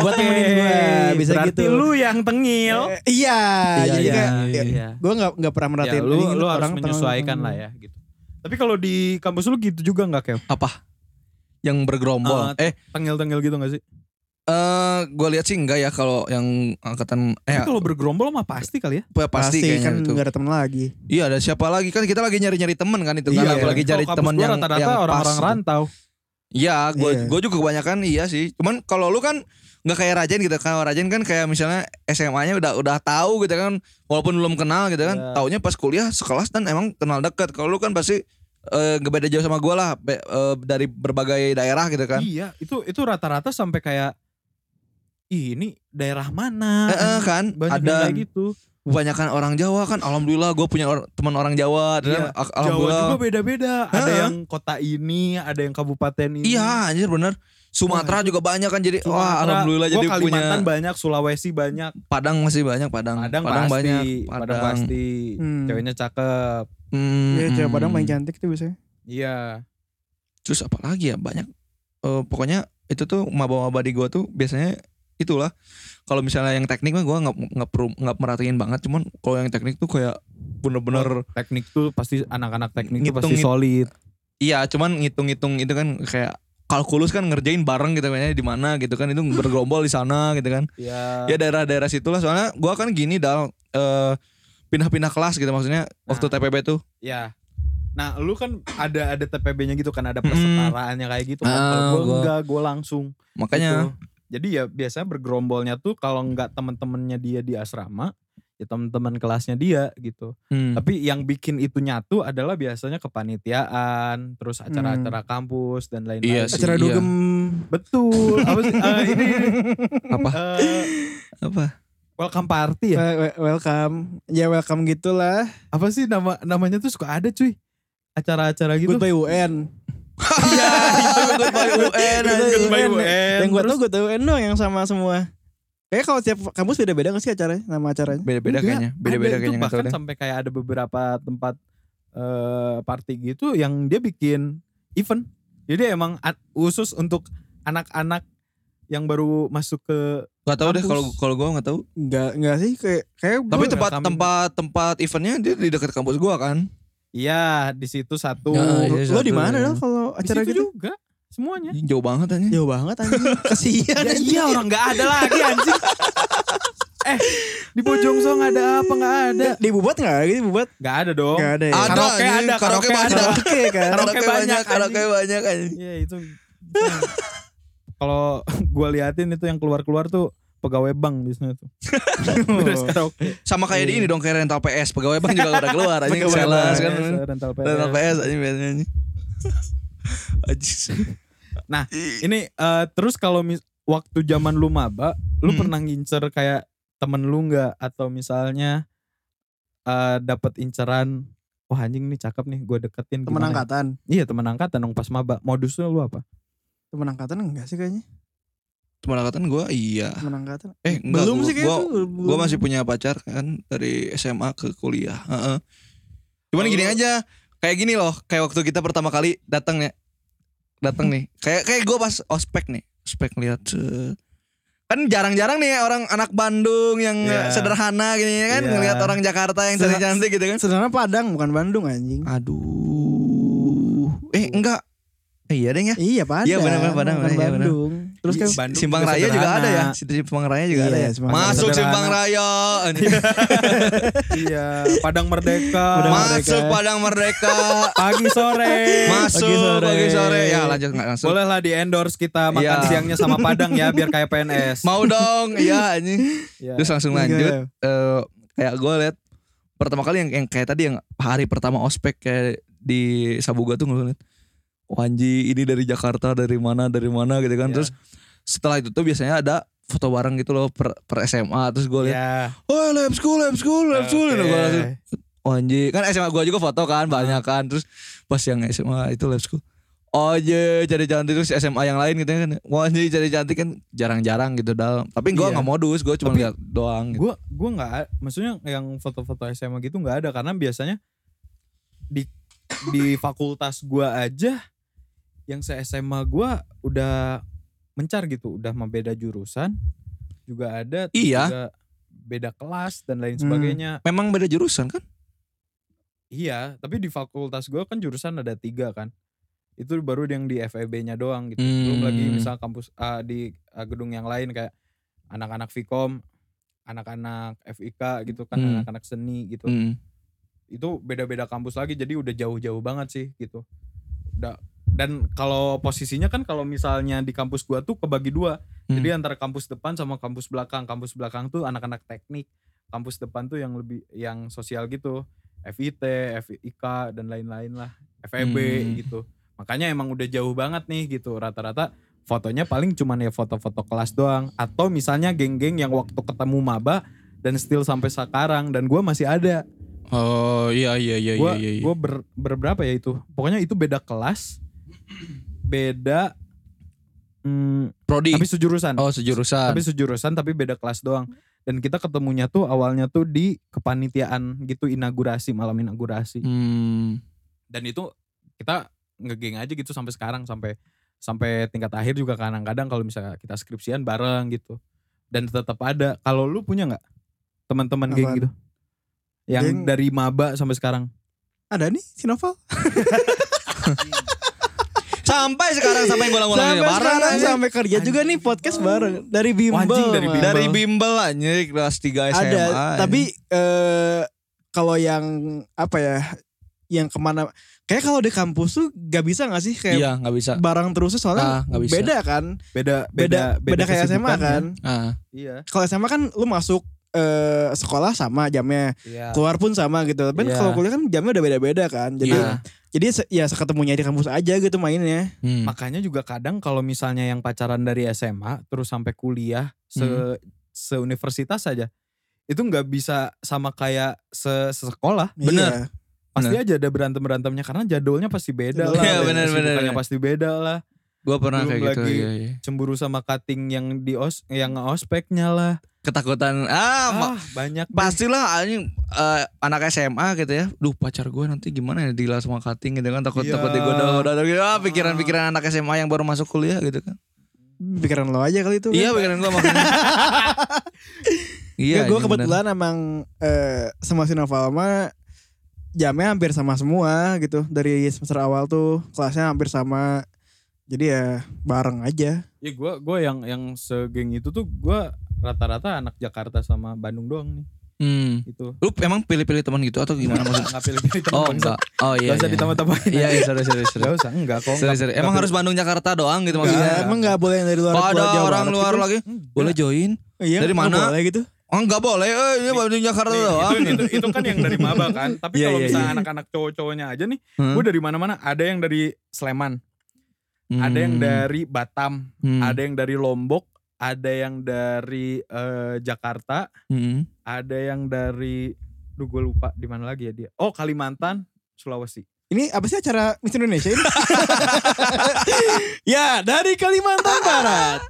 S4: buat temenin gua, bisa
S2: Berarti
S4: gitu.
S2: lu yang tengil.
S4: Eh, iya,
S3: Iya,
S4: jadi
S3: iya,
S4: kayak
S2: iya, iya.
S4: gua nggak nggak pernah
S2: Ya,
S4: merhatiin
S2: lu lu
S4: ini
S2: harus
S4: orang tengil- Hmm.
S2: menyesuaikan lah ya gitu. Tapi kalau di kampus lu gitu juga nggak kayak
S3: Apa? Yang bergerombol. eh,
S2: tengil-tengil gitu gak sih?
S3: eh gua lihat sih enggak ya kalau yang angkatan
S2: Tapi
S3: eh
S2: kalau bergerombol mah pasti kali ya.
S3: pasti,
S4: Pasti,
S3: kayaknya
S4: kan
S3: itu.
S4: nggak ada temen lagi.
S3: Iya, ada siapa lagi? Kan kita lagi nyari-nyari temen kan itu kan.
S4: Iya,
S3: Aku lagi
S2: Kalau
S3: cari
S2: kampus
S3: temen
S2: gua
S3: yang
S2: rata-rata
S3: yang pas
S2: orang-orang
S3: gitu.
S2: rantau.
S3: Iya, gue
S4: Iya.
S3: gue juga kebanyakan iya sih. Cuman kalau lu kan nggak kayak Rajen gitu kan. Kalau Rajen kan kayak misalnya SMA-nya udah udah tahu gitu kan, walaupun belum kenal gitu kan.
S2: Iya.
S3: Taunya pas kuliah sekelas dan emang kenal dekat. Kalau lu kan pasti eh, nggak beda jauh sama gue lah be- eh, dari berbagai daerah gitu kan.
S2: Iya, itu itu rata-rata sampai kayak Ih, ini daerah mana?
S3: Eh, eh, kan
S2: Banyak
S3: ada
S2: yang kayak gitu.
S3: kebanyakan orang Jawa kan. Alhamdulillah gue punya or- teman orang Jawa. Dan
S2: Iya.
S3: al-
S2: Jawa
S3: alhamdulillah.
S2: juga beda-beda. Ada
S3: Heeh.
S2: yang kota ini, ada yang kabupaten ini.
S3: Iya, anjir bener. Sumatera juga banyak kan jadi
S2: Iya.
S3: wah
S2: Sumatera.
S3: alhamdulillah
S2: Gua
S3: jadi punya
S2: Kalimantan banyak, Sulawesi banyak,
S3: Padang masih banyak Padang.
S2: Padang, pasti,
S3: banyak.
S2: Padang, pasti.
S4: Hmm.
S2: Ceweknya cakep.
S3: Hmm,
S4: Iya, cewek
S3: hmm.
S4: Padang paling cantik tuh biasanya.
S2: Iya.
S3: Terus apa lagi ya banyak. Eh, pokoknya itu tuh maba-maba di gua tuh biasanya itulah. Kalau misalnya yang teknik mah gua nggak nggak perlu nggak merhatiin banget. Cuman kalau yang teknik tuh kayak bener-bener.
S2: Teknik tuh pasti anak-anak teknik tuh
S3: Ngitung-
S2: pasti solid.
S3: Iya, cuman ngitung-ngitung itu kan kayak kalkulus kan ngerjain bareng gitu kayaknya di mana gitu kan itu bergerombol di sana gitu kan.
S2: Iya.
S3: Ya daerah-daerah situlah. Soalnya gua kan gini dal eh, pindah-pindah kelas gitu maksudnya waktu TPB tuh.
S2: Iya. Nah, lu kan ada ada TPB-nya gitu kan, ada
S3: Mm-mm.
S2: persetaraannya kayak gitu. kan.
S3: Ah,
S2: Kalau gua
S3: gua-
S2: enggak, gua langsung
S3: Makanya
S2: Gitu. Jadi ya biasanya bergerombolnya tuh kalau nggak temen-temennya dia di asrama, ya temen-temen kelasnya dia gitu.
S3: Hmm.
S2: Tapi yang bikin itu nyatu adalah biasanya kepanitiaan, terus acara-acara kampus dan lain-lain.
S3: Iya sih.
S4: Acara dugem.
S2: Betul. Apa sih? Eh, ini
S3: apa
S2: eh,
S3: apa
S2: welcome
S3: Iya.
S2: party ya?
S4: Wel- wel- Welcome. Ya welcome gitulah.
S2: Apa sih nama namanya tuh suka ada cuy. Acara-acara gitu.
S4: Goodbye UN.
S3: Iya, itu goodbye UN.
S4: Goodbye
S2: Goodbye
S4: UN.
S2: UN.
S4: Yang gue
S2: Terus
S4: tau gue tau doang yang sama semua. Kayaknya kalau tiap kampus beda-beda gak sih acaranya, nama acaranya?
S3: Beda-beda
S2: Enggak,
S3: kayaknya,
S2: ada
S3: beda-beda
S2: itu
S3: kayaknya nggak tahu
S2: bahkan
S3: deh.
S2: sampai kayak ada beberapa tempat eh party gitu yang dia bikin event jadi emang at- khusus untuk anak-anak yang baru masuk ke
S3: Gak tahu deh
S2: kampus.
S3: kalau kalau gua nggak tahu.
S4: Enggak, enggak sih kayak kayak gua-
S3: Tapi
S2: nggak
S3: tempat
S2: kami-
S3: tempat tempat eventnya dia di dekat kampus gua kan.
S2: iya di situ satu
S3: Nah, iya,
S4: lo di
S3: satu,
S4: mana
S3: iya.
S4: dong
S2: di
S4: kalau acara
S2: situ
S4: gitu?
S2: juga semuanya
S3: Jauh banget aja.
S4: Jauh banget anjing. Kasihan.
S2: ya iya orang nggak ada lagi anjing eh di Bojong Song ada apa nggak ada
S4: Di Bubot enggak? Di Bubot
S2: nggak ada dong
S4: enggak ada ya.
S3: Ada,
S2: karaoke
S3: anjing,
S2: ada
S3: karaoke
S2: karaoke ada
S3: banyak.
S4: Oke kan.
S2: Karaoke banyak,
S3: karaoke
S2: anjing.
S3: banyak anjing.
S2: Iya itu. Kalau gue liatin itu yang keluar-keluar tuh pegawai bank biasanya tuh. Beres karaoke.
S3: Sama kayak di ini dong kayak rental PS, pegawai bank juga udah keluar anjing
S4: Pegawai
S3: sales
S4: bank,
S3: kan.
S2: iya, rental PS.
S3: Rental PS anjing biasanya. anjing. Anjing.
S2: Ini eh, terus kalau mis waktu zaman lu maba, lu
S3: Hmm.
S2: pernah ngincer kayak temen lu nggak atau misalnya eh dapat inceran wah anjing nih cakep nih gue deketin
S4: Temen
S2: gimana ya?"
S4: angkatan.
S2: Iya teman angkatan dong pas maba. Modusnya lu apa?
S4: Temen angkatan enggak sih kayaknya?
S3: Teman angkatan gue iya.
S4: Temen angkatan.
S3: Eh enggak,
S4: belum
S3: gua,
S4: sih kayaknya.
S3: gua-
S4: tuh, belum.
S3: Gue masih punya pacar kan dari SMA ke kuliah. Heeh. Cuman gini aja, kayak gini loh, kayak waktu kita pertama kali datang ya, datang nih. Kayak kayak gue pas ospek nih, ospek lihat kan jarang-jarang nih orang anak Bandung yang
S2: Iya.
S3: sederhana gini
S2: Iya.
S3: kan ngelihat orang Jakarta yang
S4: Sedera-
S3: cantik-cantik gitu kan.
S4: Sebenarnya Padang bukan Bandung anjing.
S3: Aduh, eh enggak, eh, iya deh ya.
S4: Iya Padang.
S3: Iya, benar-benar Padang,
S4: bukan
S3: benar, iya, benar.
S4: Bandung. Terus kan
S2: Bandung
S3: Simpang Raya juga
S2: sederhana.
S3: ada ya, Simpang Raya juga
S4: Iya,
S3: ada ya.
S4: Simpang Raya
S3: Masuk
S2: sederhana.
S3: Simpang Raya.
S2: iya, Padang Merdeka.
S4: Padang
S3: Masuk
S4: Merdeka.
S3: Padang Merdeka.
S2: pagi sore.
S3: Masuk
S4: Pagi
S3: pagi
S4: sore.
S3: sore. Ya lanjut nggak langsung.
S2: Bolehlah di endorse kita makan
S3: Iya.
S2: siangnya sama Padang ya biar kayak PNS.
S3: Mau dong. Iya ini.
S2: Iya.
S3: Terus langsung
S4: Iya.
S3: lanjut. Eh, kayak gue liat pertama kali yang, yang kayak tadi yang hari pertama ospek kayak di Sabuga tuh gue liat. Wanji ini dari Jakarta dari mana dari mana gitu kan.
S2: Iya.
S3: Terus setelah itu tuh biasanya ada foto bareng gitu loh per, per SMA terus gue liat
S2: Ya.
S3: oh lab school lab school lab school Nah,
S2: Iya.
S3: gua langsung, Oh anjir, kan SMA gua juga foto kan banyak kan. Terus pas yang SMA itu lab school. Oh anjir, cari cantik terus SMA yang lain gitu kan. Wah anjir, cari cantik kan jarang-jarang gitu dalam. Tapi gua
S2: Iya.
S3: nggak modus, gua cuma
S2: Tapi-
S3: lihat doang gitu.
S2: Gue gue nggak, maksudnya yang foto-foto SMA gitu nggak ada karena biasanya di di fakultas gua aja yang se SMA gua udah mencar gitu, udah membeda jurusan juga ada, terus
S3: Iya.
S2: juga beda kelas dan lain
S4: Hmm.
S2: sebagainya.
S3: Memang beda jurusan kan?
S2: Iya, tapi di fakultas gua kan jurusan ada tiga kan. Itu baru yang di FEB-nya doang gitu. Belum
S3: Hmm.
S2: lagi misal kampus ah, di ah, gedung yang lain kayak anak-anak Vkom, anak-anak FIK gitu kan,
S3: Hmm.
S2: anak-anak seni gitu.
S3: Hmm.
S2: Itu beda-beda kampus lagi jadi udah jauh-jauh banget sih gitu. Udah dan kalau posisinya kan kalau misalnya di kampus gua tuh kebagi dua. Jadi
S3: Hmm.
S2: ya- antara kampus depan sama kampus belakang. Kampus belakang tuh anak-anak teknik. Kampus depan tuh yang lebih yang sosial gitu. FIT, FIK dan lain-lain lah. FEB
S3: Hmm.
S2: gitu. Makanya emang udah jauh banget nih gitu. Rata-rata fotonya paling cuman ya foto-foto kelas doang atau misalnya geng-geng yang waktu ketemu maba dan still sampai sekarang dan gua masih ada.
S3: Oh iya iya iya
S2: Gua gua ber- berberapa ya itu? Pokoknya itu beda kelas. Beda hmm,
S3: Prodi.
S2: tapi sejurusan
S3: oh sejurusan.
S2: tapi sejurusan tapi beda kelas doang
S4: Hmm.
S2: dan kita ketemunya tuh awalnya tuh di kepanitiaan gitu inaugurasi malam inaugurasi
S3: Hmm.
S2: dan itu kita ngegeng aja gitu sampai sekarang sampai sampai tingkat akhir juga kadang-kadang kalau misalnya kita skripsian bareng gitu dan tetap ada kalau lu punya nggak teman-teman geng
S4: Apaan?
S2: gitu yang
S4: Geng?
S2: dari maba sampai sekarang
S4: ada nih si Novel.
S3: Sampai sekarang sampai yang ngulang-ngulang
S4: sampai
S3: ini. Barang
S4: sekarang
S3: aja.
S4: sampai kerja juga nih podcast bareng dari Bimbel.
S2: Anjing, dari
S4: Bang.
S2: Bimbel.
S3: dari bimbel anjir kelas 3 SMA.
S4: ada
S3: anjing.
S4: tapi eh kalau yang apa ya yang kemana kayak kalau di kampus tuh gak bisa gak sih kayak
S3: iya nggak bisa.
S4: barang terus tuh
S3: Ah,
S4: soalnya
S3: nggak bisa.
S4: beda kan
S2: beda
S4: beda beda, kayak SMA
S2: kesibukannya.
S4: kan
S3: Ah.
S2: iya
S4: kalau SMA kan lu masuk eh sekolah sama jamnya
S2: iya
S3: Ah.
S4: keluar pun sama gitu tapi
S2: Iya.
S4: kalau kuliah kan jamnya udah beda-beda kan jadi
S3: Iya.
S4: jadi se- ya seketemunya di kampus aja gitu mainnya
S3: Hmm.
S2: Makanya juga kadang kalau misalnya yang pacaran dari SMA terus sampai kuliah se
S3: Hmm.
S2: seuniversitas saja itu nggak bisa sama kayak se sekolah
S3: Iya, Bener.
S2: pasti aja ada berantem berantemnya karena jadwalnya pasti beda lah,
S3: Iya,
S2: dan
S3: bener, bener,
S2: kesibukannya
S3: bener.
S2: pasti beda lah,
S3: Gua pernah
S2: belum
S3: kayak gitu.
S2: lagi-
S3: Iya, iya.
S2: cemburu sama cutting yang di os yang ospeknya lah,
S3: Ketakutan ah, ma-
S2: ah banyak deh.
S3: pastilah anjing eh, anak SMA gitu ya. Duh pacar gue nanti gimana ya deal sama cutting gitu kan takut
S2: Iya.
S3: takut digoda-goda gitu. Ah, pikiran-pikiran anak SMA yang baru masuk kuliah gitu kan.
S4: ya pikiran lo aja kali itu kan.
S3: Iya pikiran gue makanya. iya.
S4: gue
S3: anjing,
S4: kebetulan emang eh, sama si Noval mah jamnya hampir sama semua gitu dari semester awal tuh kelasnya hampir sama jadi ya bareng aja
S2: Ya gue gue yang yang segeng itu tuh gue rata-rata anak Jakarta sama Bandung doang nih
S3: bener. Hmm.
S2: itu.
S3: Lu emang pilih-pilih teman gitu atau gimana maksudnya?
S2: Nggak pilih-pilih teman
S3: Oh
S2: bangsa.
S3: enggak. Oh iya.
S2: Nggak usah
S3: iya.
S2: ditambah-tambahin.
S3: Iya, iya, sorry, sorry, sorry.
S2: Gak usah, enggak kok.
S3: Sorry,
S2: enggak-
S3: sorry.
S2: enggak
S3: Emang
S2: pilih-
S3: harus Bandung Jakarta doang gitu
S4: Iya,
S3: maksudnya.
S4: emang nggak boleh yang dari luar
S3: Kalau ada
S4: pulau Jawa
S3: orang
S4: Barat
S3: luar
S4: gitu.
S3: lagi,
S2: Enggak.
S3: boleh join.
S4: Iya,
S3: dari
S4: nggak
S3: mana?
S4: boleh gitu
S2: Iya.
S3: Oh enggak boleh. Eh, ini Bandung Jakarta
S2: Nih,
S3: doang.
S2: itu, itu, itu kan yang dari maba kan. Tapi
S3: Iya,
S2: kalau
S3: iya,
S2: misalnya
S3: iya.
S2: anak-anak cowok-cowoknya aja nih,
S3: Hmm.
S2: gue dari mana-mana. Ada yang dari Sleman, ada yang dari Batam,
S3: Hmm.
S2: ada yang dari Lombok, ada yang dari eh, Jakarta,
S3: Mm-mm.
S2: ada yang dari duh gue lupa di mana lagi ya dia. Oh, Kalimantan, Sulawesi.
S4: Ini apa sih acara Miss Indonesia ini? ya, dari Kalimantan Barat.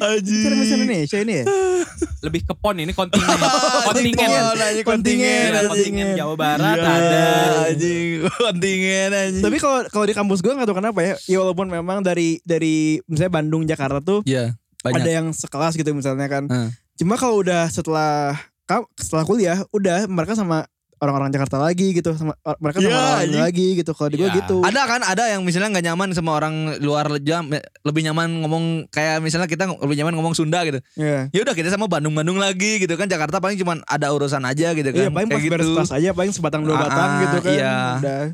S4: Acara Miss Indonesia ini ya?
S2: Lebih ke PON ini kontingen. kontingen.
S3: Kontingen. Kontingen.
S2: Iya,
S3: anjing.
S2: kontingen Jawa Barat
S3: Iya,
S2: ada.
S3: anjing. Kontingen anjing.
S4: Tapi kalau kalau di kampus gue nggak tahu kenapa ya. Ya walaupun memang dari dari misalnya Bandung Jakarta tuh
S3: ya banyak.
S4: ada yang sekelas gitu misalnya kan.
S3: Heeh.
S4: Cuma kalau udah setelah ka- setelah kuliah udah mereka sama orang-orang Jakarta lagi gitu sama or- mereka sama
S3: Ya,
S4: orang
S3: anjing.
S4: lagi gitu kalau di gue
S2: Ya.
S4: gitu.
S3: Ada kan ada yang misalnya nggak nyaman sama orang luar jam lebih nyaman ngomong kayak misalnya kita lebih nyaman ngomong Sunda gitu.
S4: Iya.
S3: Ya udah kita sama Bandung-Bandung lagi gitu kan Jakarta paling cuman ada urusan aja gitu kan.
S4: Iya paling pas
S3: Kayak
S4: beres kelas aja paling sebatang dua
S3: Ah,
S4: batang
S3: ah,
S4: gitu kan.
S3: iya.
S4: Udah.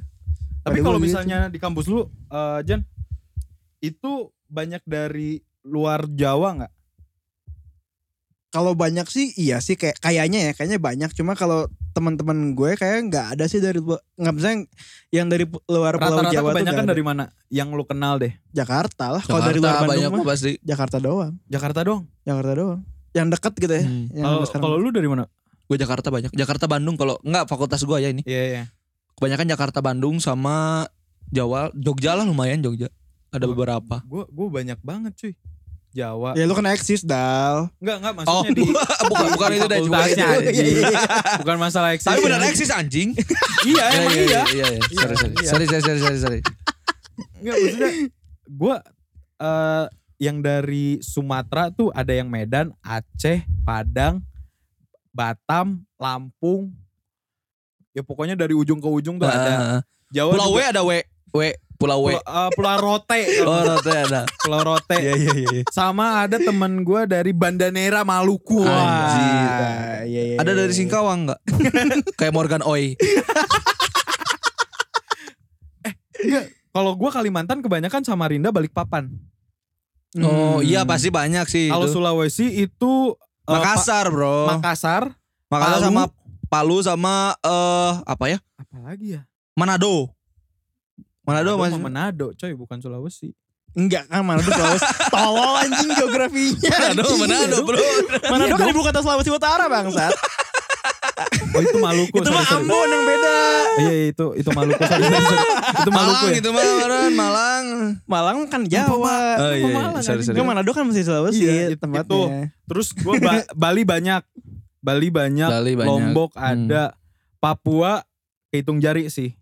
S2: Tapi
S4: Pada
S2: kalau
S4: gua gitu.
S2: misalnya di kampus lu, eh, Jan, itu banyak dari luar Jawa nggak?
S4: Kalau banyak sih iya sih kayak kayaknya ya kayaknya banyak cuma kalau teman-teman gue kayak nggak ada sih dari lu- nggak misalnya yang dari pu- luar Pulau
S2: Rata-rata
S4: Jawa tuh
S2: kebanyakan
S4: nggak ada.
S2: dari mana? Yang lu kenal deh?
S4: Jakarta lah kalau
S3: Jakarta
S4: dari luar
S3: banyak
S4: Bandung mah
S3: mah pasti.
S4: Jakarta doang
S2: Jakarta dong.
S4: Jakarta doang yang dekat gitu ya
S3: Hmm.
S4: yang
S2: Kalau-
S4: sekarang.
S2: Kalau lu dari mana?
S3: Gue Jakarta banyak. Jakarta Bandung kalau nggak fakultas gua ya ini.
S2: Iya, iya.
S3: Kebanyakan Jakarta Bandung sama Jawa Jogja lah lumayan Jogja. Ada beberapa.
S2: Gue gue banyak banget cuy. Jawa.
S4: ya lu kan eksis dal
S2: Enggak, enggak
S3: Oh,
S2: maksudnya di
S3: bukan bukan itu deh. bukan
S2: Fakultasnya,
S3: itu.
S2: anjing. bukan masalah eksis.
S3: Tapi benar eksis anjing.
S2: Iya, emang iya.
S3: Iya, iya. Sorry, sorry.
S2: Iya.
S3: Sorry, sorry, sorry, sorry, sorry.
S2: Enggak maksudnya gue eh yang dari Sumatera tuh ada yang Medan, Aceh, Padang, Batam, Lampung. Ya pokoknya dari ujung ke ujung tuh ada.
S3: Ah, ah.
S2: Jawa
S3: Pulau W
S2: juga-
S3: ada W. W Pulau W.
S2: Pulau, eh, Pulau Rote,
S3: Oh, nanti ada.
S2: Pulau Rote.
S3: iya, iya.
S2: Sama ada teman gue dari Bandanera Maluku.
S3: Anjir.
S4: Ah, iya, iya,
S3: Ada
S4: iya,
S3: dari
S4: iya.
S3: Singkawang enggak? Kayak Morgan Oi.
S2: Kalau gue Kalimantan kebanyakan Samarinda Balikpapan.
S4: Hmm.
S3: Oh, iya pasti banyak sih.
S2: Kalau
S3: itu.
S2: Sulawesi itu eh, Pa-
S3: Makassar, Bro.
S2: Makassar.
S3: Makassar
S2: Palu.
S3: sama Palu sama eh apa ya?
S2: Apalagi ya?
S3: Manado. Manado
S2: Manado,
S3: masih
S2: sama Manado, coy, bukan Sulawesi.
S4: enggak kan Manado Sulawesi tolol anjing geografinya Iya,
S3: Manado,
S4: anjing.
S3: Manado, Bro.
S4: Manado kan ibu kota Sulawesi Utara bangsat
S2: Oh itu Maluku.
S4: itu mah
S2: sorry, sorry.
S4: Ambon yang beda
S2: Iya iya, itu itu Maluku. sorry, sorry, sorry. Itu Maluku
S3: Malang gitu.
S2: ya.
S3: itu mah Maran, Malang.
S4: Malang kan Jawa
S3: Oh, iya, iya.
S2: Malang,
S3: Sorry,
S2: anjing.
S3: sorry.
S4: Enggak, Manado kan masih Sulawesi
S2: Iya, itu-
S4: tempatnya
S2: Terus gue Bali banyak, Bali banyak,
S3: Bali banyak.
S2: Lombok
S3: Hmm.
S2: ada, Papua hitung jari sih.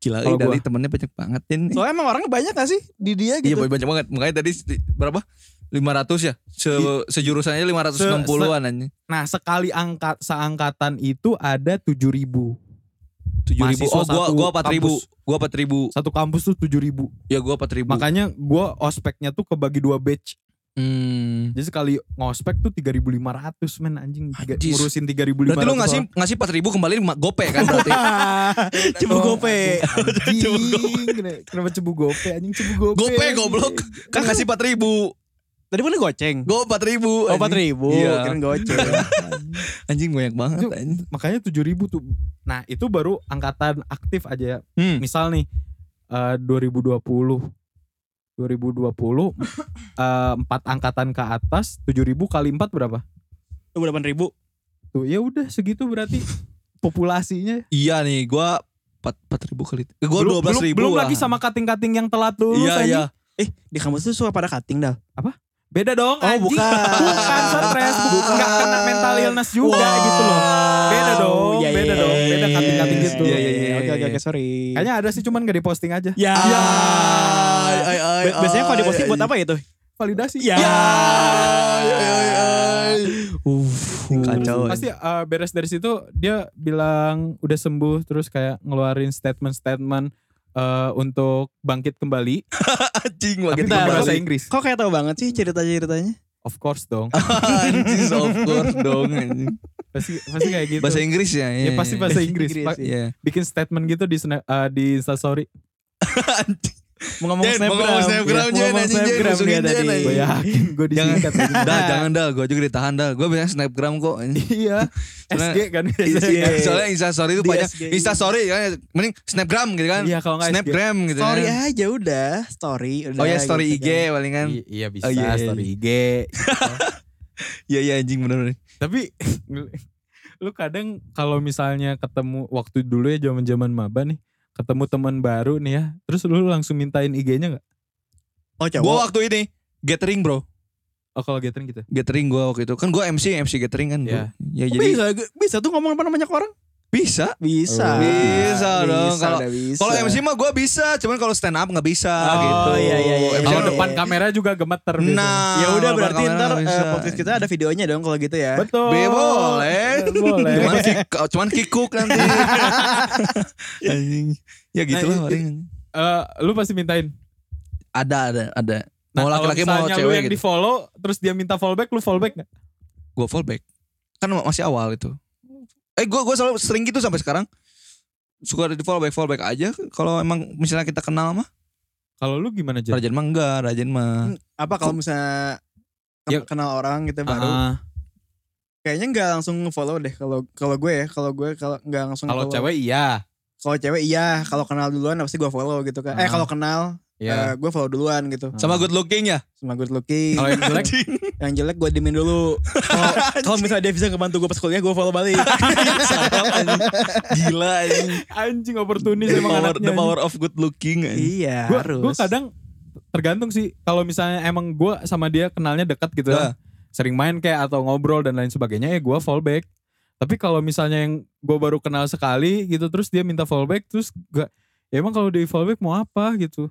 S3: Gila,
S2: Kalau
S3: dari
S2: gua.
S3: temennya banyak banget ini.
S4: soalnya emang orangnya banyak gak sih di dia
S3: Iya
S4: gitu
S3: boy, banyak banget. Makanya tadi se- berapa? 500 ya? Se
S2: Iya.
S3: sejurusannya 560-an anjing.
S2: Nah sekali angkat seangkatan itu ada tujuh ribu.
S3: 7000.
S2: Mahasiswa
S3: Oh, gua
S2: satu
S3: gua 4000.
S2: kampus.
S3: Gua 4000.
S2: Satu kampus tuh tujuh ribu.
S3: Ya gua 4000.
S2: Makanya gue ospeknya tuh kebagi dua batch.
S3: Hmm.
S2: Jadi sekali ngospek tuh 3500 men anjing tiga,
S3: Anjis.
S2: ngurusin 3500.
S3: Berarti lu ngasih
S2: orang.
S3: ngasih 4000 kembali ma- gope kan berarti.
S4: Cebu gope
S2: Anjing. Kenapa cebu gope anjing cebu gope.
S3: gope goblok. Kan ngasih 4000.
S4: tadi mana goceng
S3: Gua 4000.
S4: Oh
S3: anjing.
S4: empat ribu,
S3: Iya.
S4: keren goceng.
S3: Anjing banyak banget
S2: Itu-
S3: anjing.
S2: Makanya 7000 tuh. Nah, itu baru angkatan aktif aja ya.
S3: Hmm.
S2: Misal nih eh, 2020 2020 eh, empat angkatan ke atas 7000 kali 4 berapa?
S4: Dua delapan ribu.
S2: Tuh, ya udah segitu berarti populasinya.
S3: Iya nih, gua 4000 kali. Eh, Gua
S2: Belum- belum,
S3: 12000.
S2: belum lagi sama kating-kating yang telat lulus
S3: Iya,
S2: anjing.
S3: iya.
S4: Eh di kampus tuh suka pada cutting dah.
S2: Beda dong
S4: Oh,
S2: anjing.
S4: bukan.
S2: Bukan stres, bukan nggak kena mental illness juga
S3: Wow.
S2: gitu loh. Beda dong,
S4: Iya,
S2: beda
S4: iya,
S2: dong,
S4: iya,
S2: beda
S4: iya,
S2: kating-kating
S4: iya,
S2: gitu.
S4: Iya
S3: Iya,
S4: iya
S3: iya,
S4: iya. Oke oke
S3: iya.
S4: oke sorry.
S2: Kayaknya ada sih cuman gak diposting aja.
S4: Ya.
S3: Ya. Ay, ay,
S4: Bi- Biasanya kalau
S3: ay,
S4: diposting buat
S3: ay.
S4: apa ya tuh?
S2: Validasi.
S3: Iya.
S4: Ya.
S2: Iya.
S3: Uff, kacau.
S2: Pasti uh, beres dari situ dia bilang udah sembuh terus kayak ngeluarin statement-statement uh, untuk bangkit kembali
S3: anjing
S2: tapi
S3: makin
S2: dalam bahasa
S3: kembali.
S2: Inggris.
S4: Kok kayak tahu banget sih cerita ceritanya?
S2: Of course dong.
S3: Ah. Anjing of course dong. anjing.
S2: Pasti pasti kayak gitu.
S3: Bahasa Inggris ya.
S2: ya
S3: iya,
S2: pasti
S3: iya.
S2: bahasa Inggris.
S4: Inggris,
S2: Pak.
S4: iya.
S3: Iya.
S2: Bikin statement gitu di sna- uh, di Instastory.
S4: Mau ngomong
S3: Jen, mau
S4: snapgram.
S3: ngomong snapgram,
S4: Iya,
S3: Jen,
S4: mau ngomong
S3: anjing, Jen,
S4: snapgram dia
S3: musuhin Jen,
S4: tadi.
S3: anjing.
S2: Gue yakin gue
S3: Jangan
S2: disingkat. anjing.
S3: dah, jangan dah. Gue juga ditahan dah. Gue biasanya snapgram kok. anjing.
S2: Iya.
S3: Soalnya-
S2: SG kan biasanya.
S4: Iya.
S3: Soalnya Insta story itu
S4: Di
S3: banyak.
S4: SG.
S3: Insta story kan mending snapgram gitu kan.
S2: Iya kalau nggak SG.
S3: Snapgram gitu.
S4: Story
S3: kan.
S4: aja udah, story.
S3: Oh
S4: udah
S3: ya story
S4: gitu
S3: IG
S4: kan.
S3: palingan.
S2: I- iya bisa
S3: Oh, iya, iya,
S2: story IG. gitu.
S3: Iya iya anjing bener.
S2: Tapi lu kadang kalau misalnya ketemu waktu dulu ya zaman-zaman maba nih, ketemu teman baru nih ya, terus lu langsung mintain IG-nya nggak?
S4: Oh
S3: Gue
S4: cowok.
S3: waktu ini gathering bro,
S2: Oh kalau gathering gitu.
S3: gathering gue waktu itu kan gue MC MC gathering kan. bro.
S2: Iya.
S3: Ya
S4: Kok
S3: jadi
S4: bisa bisa tuh ngomong depan banyak orang.
S3: bisa. Oh,
S4: Bisa.
S3: Bisa dong, kalau-
S4: udah bisa.
S3: Kalau MC mah gue bisa, cuman kalau stand up nggak bisa
S2: Oh,
S3: gitu.
S4: iya, iya, iya,
S3: MC
S2: Kalau
S4: iya.
S2: depan kamera juga gemeter biasanya.
S3: Nah,
S4: ya udah
S3: kalau
S4: berarti
S3: kamera
S4: ntar
S3: nggak
S4: eh,
S3: bisa.
S4: podcast kita ada videonya dong kalau gitu ya.
S2: Betul.
S3: Be boleh.
S2: Oh. Boleh.
S3: Cuman, kick- cuman kikuk nanti. Anjing. ya gitu lah
S2: Nah,
S3: paling.
S2: Eh, lu pasti mintain.
S3: Ada ada ada.
S2: Nah,
S3: Mau
S2: kalau
S3: laki-laki mau
S2: misalnya lu yang di
S3: cewek gitu.
S2: follow, terus dia minta follow back, lu follow back gak?
S3: Gue fallback. Kan masih awal itu. Eh gue gue selalu sering gitu sampai sekarang. Suka di fallback fallback aja. Kalau emang misalnya kita kenal mah,
S2: Kalau lu gimana aja?
S3: Rajan mah enggak, Rajan mah.
S4: Apa kalau misalnya
S2: Ya.
S4: kenal orang gitu baru
S3: Ah.
S4: kayaknya nggak langsung follow deh kalau kalau gue ya kalau gue kalau nggak langsung
S2: kalau
S4: follow.
S2: cewek iya.
S4: kalau cewek iya kalau kenal duluan pasti gue follow gitu kan eh
S2: Ah.
S4: kalau kenal
S2: Iya. Hmm.
S4: eh, gue follow duluan gitu
S3: Sama good looking ya.
S4: sama good looking
S2: Kalau yang jelek
S4: yang jelek gue dimin dulu Kalau- kalau misalnya dia bisa ngebantu gue pas kuliah gue follow balik
S3: Gila anjing.
S2: anjing oportunis
S3: The
S2: emang
S3: power,
S2: anaknya.
S3: the power of good looking anjing.
S4: iya
S2: Gue
S4: harus
S2: kadang tergantung sih kalau misalnya emang gue sama dia kenalnya dekat gitu ya.
S3: Nah.
S2: Sering main kayak atau ngobrol dan lain sebagainya ya gue fallback. Tapi kalau misalnya yang gue baru kenal sekali gitu terus dia minta fallback terus gak ya emang kalau di fallback mau apa gitu.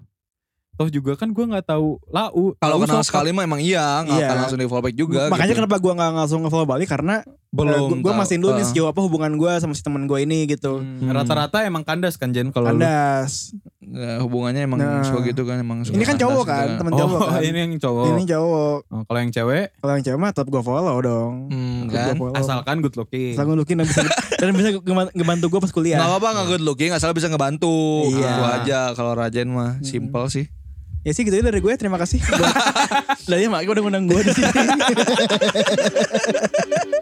S2: Toh juga kan gue nggak tahu lau.
S3: Kalau
S2: Lau
S3: kenal
S2: sokap.
S3: sekali mah emang iya, nggak
S4: Iya.
S3: akan langsung di fallback juga.
S4: makanya
S3: gitu.
S4: kenapa gue nggak langsung nge-follow balik karena eh,
S3: belum
S4: gue
S3: tahu.
S4: mastiin dulu nih
S3: Ah.
S4: sejauh apa hubungan gue sama si teman gue ini gitu
S2: Hmm, Rata-rata emang kandas kan Jen kalau lu.
S4: kandas
S3: Ya, hubungannya emang
S4: Nah.
S3: suka gitu kan emang suka
S4: ini kan
S3: kandas
S4: cowok
S3: gitu
S4: kan teman cowok
S2: Oh
S4: kan
S2: ini yang cowok.
S4: ini cowok
S2: Oh, kalau yang cewek
S4: kalau yang cewek mah tetap gue follow dong
S3: Hmm,
S4: Tetap
S3: kan
S4: gua follow.
S2: asalkan good looking.
S4: Asal gue looking dan bisa dan bisa ngeban- ngebantu gue pas
S3: Gak
S4: kuliah.
S3: apa-apa gak good looking Asal bisa ngebantu
S4: Iya.
S3: Itu aja Kalau Rajen mah Simple sih
S4: Ya sih gitu aja dari gue terima kasih. Buat- Dari mak gue udah ngundang gue di sini.